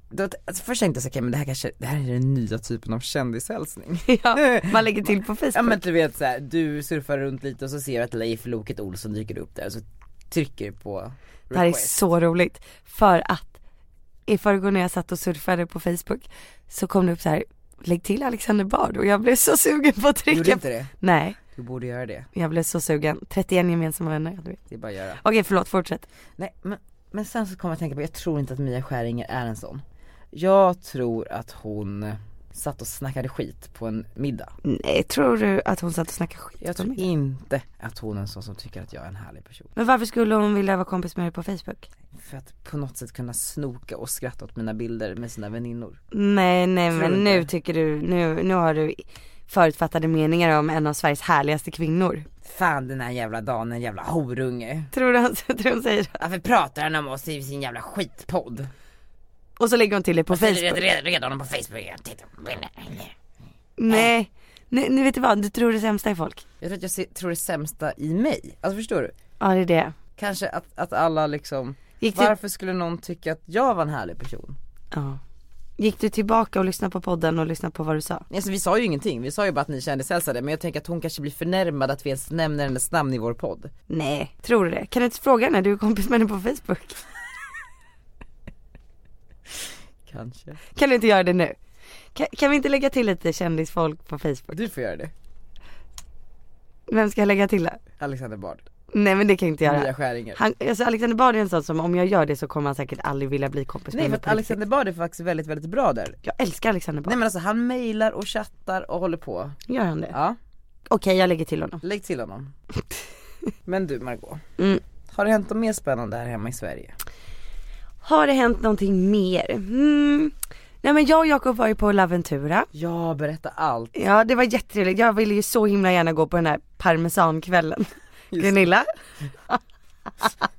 [SPEAKER 1] då, alltså först tänkte jag så här, okej men det här kanske, det här är den nya typen av kändishälsning.
[SPEAKER 2] Ja, man lägger till på Facebook.
[SPEAKER 1] Ja men du vet såhär, du surfar runt lite och så ser du att Leif Loket Olsson dyker upp där och så trycker du på
[SPEAKER 2] Det här är
[SPEAKER 1] request.
[SPEAKER 2] så roligt. För att i förrgår när jag satt och surfade på Facebook så kom det upp så här, lägg till Alexander Bard och jag blev så sugen på att trycka.
[SPEAKER 1] Gjorde inte det?
[SPEAKER 2] Nej,
[SPEAKER 1] Du borde göra det,
[SPEAKER 2] jag blev så sugen. 31 gemensamma vänner hade vi.
[SPEAKER 1] det är bara att göra.
[SPEAKER 2] Okej förlåt, fortsätt.
[SPEAKER 1] Nej men, men sen så kom jag att tänka på, jag tror inte att Mia Skäringer är en sån. Jag tror att hon eh, satt och snackade skit på en middag.
[SPEAKER 2] Nej, tror du att hon satt och snackade skit
[SPEAKER 1] Jag
[SPEAKER 2] om
[SPEAKER 1] tror
[SPEAKER 2] mig?
[SPEAKER 1] inte att hon är en sån som tycker att jag är en härlig person.
[SPEAKER 2] Men varför skulle hon vilja vara kompis med dig på Facebook?
[SPEAKER 1] För att på något sätt kunna snoka och skratta åt mina bilder med sina väninnor.
[SPEAKER 2] Nej, nej
[SPEAKER 1] Tror du
[SPEAKER 2] men nu
[SPEAKER 1] inte?
[SPEAKER 2] tycker du, nu, nu har du förutfattade meningar om en av Sveriges härligaste kvinnor.
[SPEAKER 1] Fan den här jävla Dan, en jävla horunge.
[SPEAKER 2] Tror du han, tror du hon säger det?
[SPEAKER 1] Varför pratar han om oss i sin jävla skitpodd?
[SPEAKER 2] Och så lägger hon till det på Facebook.
[SPEAKER 1] Redan, redan honom på Facebook. Jag tittar på bilderna.
[SPEAKER 2] Nej, nej, nej vet du vad, du tror det sämsta i folk.
[SPEAKER 1] Jag tror att jag ser, tror det sämsta i mig. Alltså förstår du?
[SPEAKER 2] Ja det är det.
[SPEAKER 1] Kanske att, att alla liksom,
[SPEAKER 2] Gick du,
[SPEAKER 1] varför skulle någon tycka att jag var en härlig person?
[SPEAKER 2] ja. Gick du tillbaka och lyssnade på podden och lyssnade på vad du sa?
[SPEAKER 1] Alltså vi sa ju ingenting, vi sa ju bara att ni kändishälsade men jag tänker att hon kanske blir förnärmad att vi ens nämner hennes namn i vår podd.
[SPEAKER 2] Nej, tror du det? Kan du inte fråga henne, du är kompis med henne på Facebook.
[SPEAKER 1] Kanske.
[SPEAKER 2] Kan du inte göra det nu? Kan, kan vi inte lägga till lite kändisfolk på Facebook?
[SPEAKER 1] Du får göra det.
[SPEAKER 2] Vem ska jag lägga till det?
[SPEAKER 1] Alexander Bard,
[SPEAKER 2] Nej men det kan jag inte göra.
[SPEAKER 1] Mia Skäringer.
[SPEAKER 2] Han, alltså Alexander Bard är en sån som om jag gör det så kommer han säkert aldrig vilja bli kompis
[SPEAKER 1] Nej
[SPEAKER 2] med
[SPEAKER 1] för
[SPEAKER 2] mig
[SPEAKER 1] att
[SPEAKER 2] på riktigt.
[SPEAKER 1] Alexander Bard är faktiskt väldigt väldigt bra där.
[SPEAKER 2] Jag älskar Alexander Bard.
[SPEAKER 1] Nej men alltså han mejlar och chattar och håller på.
[SPEAKER 2] Gör han det?
[SPEAKER 1] Ja,
[SPEAKER 2] Okej jag lägger till honom.
[SPEAKER 1] lägg till honom. Men du Margot,
[SPEAKER 2] Mm.
[SPEAKER 1] har det hänt något mer spännande här hemma i Sverige?
[SPEAKER 2] Har det hänt någonting mer? Mm. Nej men jag och Jakob var ju på Laventura.
[SPEAKER 1] Ja, berätta allt.
[SPEAKER 2] Ja det var jättetrevligt, jag ville ju så himla gärna gå på den här parmesankvällen.
[SPEAKER 1] Just
[SPEAKER 2] Gunilla?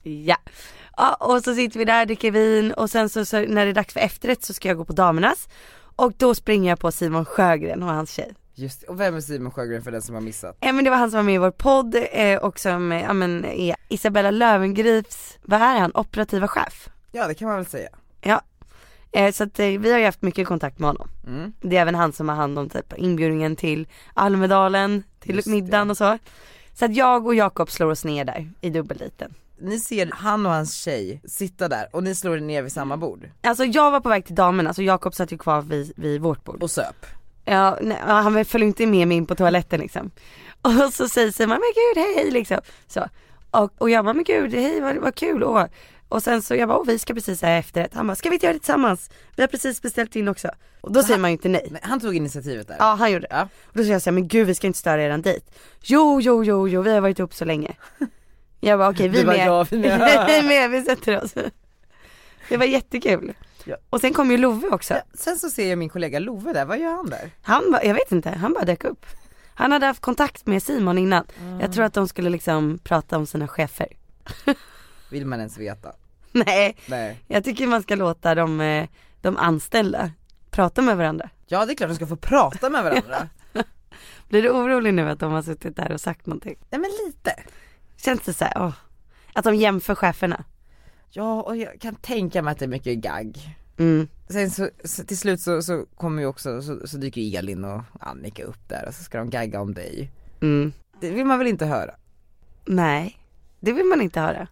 [SPEAKER 2] ja. ja. Och så sitter vi där, dricker vin och sen så, så när det är dags för efterrätt så ska jag gå på damernas. Och då springer jag på Simon Sjögren och hans tjej.
[SPEAKER 1] Just det. Och vem är Simon Sjögren för den som har missat?
[SPEAKER 2] Ja men det var han som var med i vår podd eh, och som, eh, ja men är Isabella Lövengrips, vad är han, operativa chef?
[SPEAKER 1] Ja det kan man väl säga.
[SPEAKER 2] Ja. Eh, så att eh, vi har ju haft mycket kontakt med honom.
[SPEAKER 1] Mm.
[SPEAKER 2] Det är även han som har hand om typ inbjudningen till Almedalen, till
[SPEAKER 1] Just det.
[SPEAKER 2] middagen och så. Så att jag och Jakob slår oss ner där i dubbelliten.
[SPEAKER 1] Ni ser han och hans tjej sitta där och ni slår er ner vid samma bord
[SPEAKER 2] Alltså jag var på väg till damerna så Jakob satt ju kvar vid, vid vårt bord.
[SPEAKER 1] och söp.
[SPEAKER 2] Ja, nej, ja, han följde inte med mig in på toaletten liksom. Och så säger Simon, men gud hej liksom. Så. Och, och jag bara, men gud hej vad, vad kul. Och, och sen så jag bara, åh vi ska precis ha efterrätt. Han bara, ska vi inte göra det tillsammans? Vi har precis beställt in också. Och då säger man ju inte nej.
[SPEAKER 1] Nej, han tog initiativet där.
[SPEAKER 2] Ja han gjorde det.
[SPEAKER 1] Ja.
[SPEAKER 2] Och då sa jag såhär, men gud vi ska inte störa eran dejt. Jo, jo, jo, jo, vi har varit ihop så länge. Jag bara okej, vi
[SPEAKER 1] Du bara,
[SPEAKER 2] med.
[SPEAKER 1] ja, vi med.
[SPEAKER 2] vi med, vi sätter oss. Det var jättekul.
[SPEAKER 1] Ja.
[SPEAKER 2] Och sen kom ju Love också.
[SPEAKER 1] Ja, Sen så ser jag min kollega Love där, vad gör han där?
[SPEAKER 2] Han bara, jag vet inte, han bara dök upp. Han hade haft kontakt med Simon innan.
[SPEAKER 1] Ah.
[SPEAKER 2] Jag tror att de skulle liksom prata om sina chefer.
[SPEAKER 1] Vill man ens veta?
[SPEAKER 2] Nej,
[SPEAKER 1] Nej.
[SPEAKER 2] jag tycker man ska låta de, eh, de anställda prata med varandra.
[SPEAKER 1] Ja det är klart de ska få prata med varandra.
[SPEAKER 2] Blir du orolig nu att de har suttit där och sagt någonting?
[SPEAKER 1] Nej men lite.
[SPEAKER 2] Känns det såhär, åh, att de jämför cheferna?
[SPEAKER 1] Ja och jag kan tänka mig att det är mycket gagg.
[SPEAKER 2] Mm.
[SPEAKER 1] Sen så, så till slut så, så kommer ju också, så, så dyker Elin och Annika upp där och så ska de gagga om dig.
[SPEAKER 2] Mm.
[SPEAKER 1] Det vill man väl inte höra?
[SPEAKER 2] Nej, det vill man inte höra.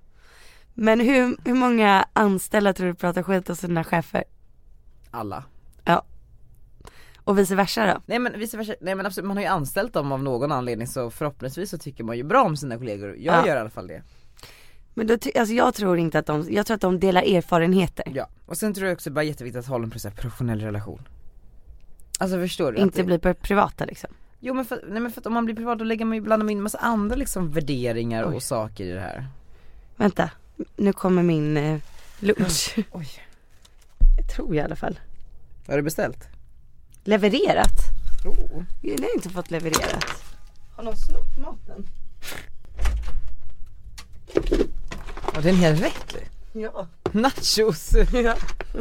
[SPEAKER 2] Men hur, hur många anställda tror du pratar skit om sina chefer?
[SPEAKER 1] Alla.
[SPEAKER 2] Och vice versa då?
[SPEAKER 1] Nej men vice versa, nej men absolut, man har ju anställt dem av någon anledning så förhoppningsvis så tycker man ju bra om sina kollegor, jag
[SPEAKER 2] Ja.
[SPEAKER 1] gör i alla fall det.
[SPEAKER 2] Men då, ty- alltså jag tror inte att de, jag tror att de delar erfarenheter.
[SPEAKER 1] Ja. Och sen tror jag också bara jätteviktigt att hålla en så här professionell relation. Alltså förstår du? att
[SPEAKER 2] Inte
[SPEAKER 1] det,
[SPEAKER 2] blir pri- privata liksom.
[SPEAKER 1] Jo men för, nej men för att om man blir privat då lägger man ju, blandar man in massa andra liksom värderingar
[SPEAKER 2] Oj.
[SPEAKER 1] och saker i det här.
[SPEAKER 2] Vänta, nu kommer min eh, lunch.
[SPEAKER 1] Oj.
[SPEAKER 2] Mm. Jag tror i alla fall.
[SPEAKER 1] Har du beställt?
[SPEAKER 2] Levererat?
[SPEAKER 1] Oh.
[SPEAKER 2] Jag har inte fått levererat.
[SPEAKER 1] Och det är en hel räck
[SPEAKER 2] Ja.
[SPEAKER 1] Nachos!
[SPEAKER 2] ja.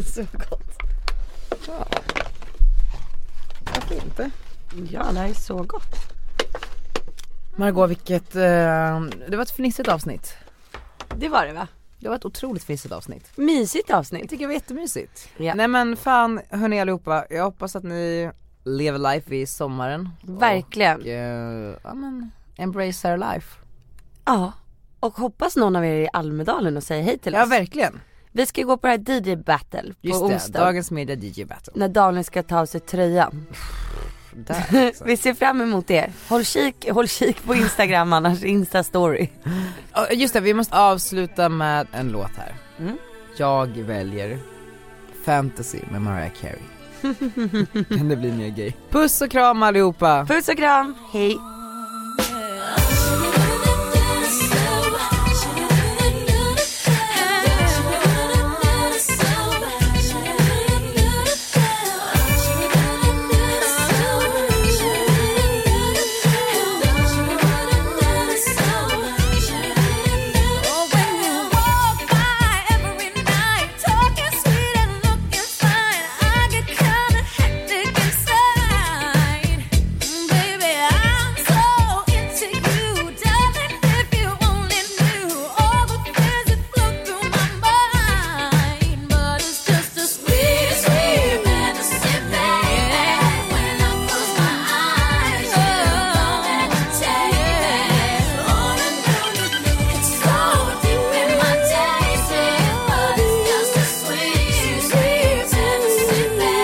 [SPEAKER 2] Så gott.
[SPEAKER 1] Varför inte?
[SPEAKER 2] Ja, det här är så gott.
[SPEAKER 1] Margot vilket, eh, det var ett fnissigt avsnitt.
[SPEAKER 2] Det var det va?
[SPEAKER 1] Det var ett otroligt friskt avsnitt.
[SPEAKER 2] Mysigt
[SPEAKER 1] Jag
[SPEAKER 2] avsnitt.
[SPEAKER 1] tycker det var jättemysigt.
[SPEAKER 2] Ja.
[SPEAKER 1] Nej men fan hörni allihopa, jag hoppas att ni lever life i sommaren.
[SPEAKER 2] Verkligen.
[SPEAKER 1] Och, eh, ja men, embrace our life.
[SPEAKER 2] Ja. Och hoppas någon av er är i Almedalen och säger hej till
[SPEAKER 1] Ja
[SPEAKER 2] oss.
[SPEAKER 1] verkligen.
[SPEAKER 2] Vi ska gå på det här DJ battle på
[SPEAKER 1] Just det,
[SPEAKER 2] onsdag.
[SPEAKER 1] dagens media DJ battle.
[SPEAKER 2] När Daniel ska ta av sig tröjan.
[SPEAKER 1] Där, exakt.
[SPEAKER 2] Vi ser fram emot det. Håll kik, håll kik på Instagram annars, Insta story.
[SPEAKER 1] Ja, Just det, vi måste avsluta med en låt här. Jag väljer Fantasy med Mariah Carey. Kan det bli mer gay? Puss och kram allihopa!
[SPEAKER 2] Puss och kram, hej.
[SPEAKER 7] Baby, I'm so into you, darling. If you only knew all the fears that flow through my mind, but it's just a sweet, sweet fantasy, baby. When I close my eyes, you're all it's so deep in my daisy, but it's just a sweet, sweet fantasy, baby.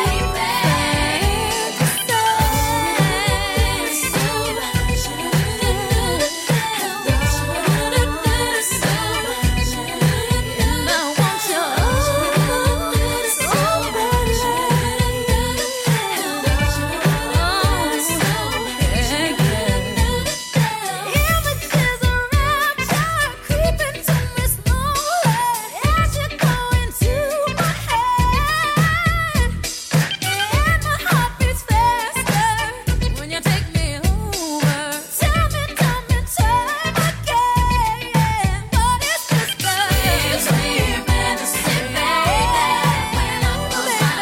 [SPEAKER 7] And my heart beats faster when you take me over. Tell me, tell me, time again. What is this sweet, sweet fantasy, baby? When I close my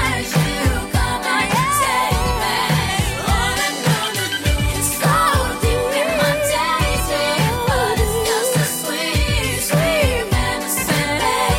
[SPEAKER 7] eyes, you come and take me. All I know to do is so deep in my daisy, but it's just a sweet, sweet fantasy, baby.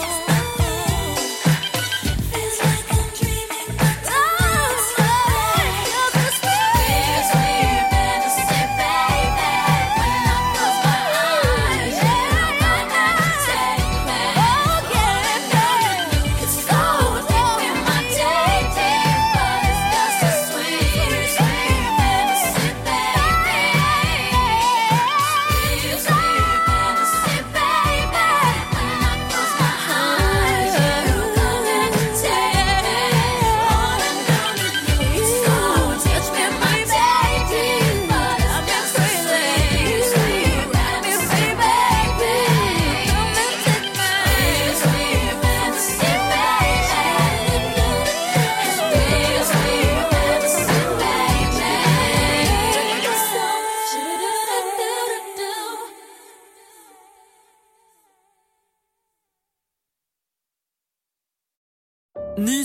[SPEAKER 7] Oh Feels like I'm dreaming, but I'm slaying. You're the sweet, sweet fantasy, baby. When I close my eyes, you're gonna take me. Oh yeah, it's so deep in my daisy, but it's just a sweet, sweet fantasy, baby. Sweet, sweet fantasy, baby. When I close my eyes, you're gonna take me. All I'm gonna do is go touch me, my baby. But I'm just a sweet, sweet fantasy, baby. Sweet, sweet fantasy, baby. Sweet, sweet fantasy, baby.
[SPEAKER 8] Ny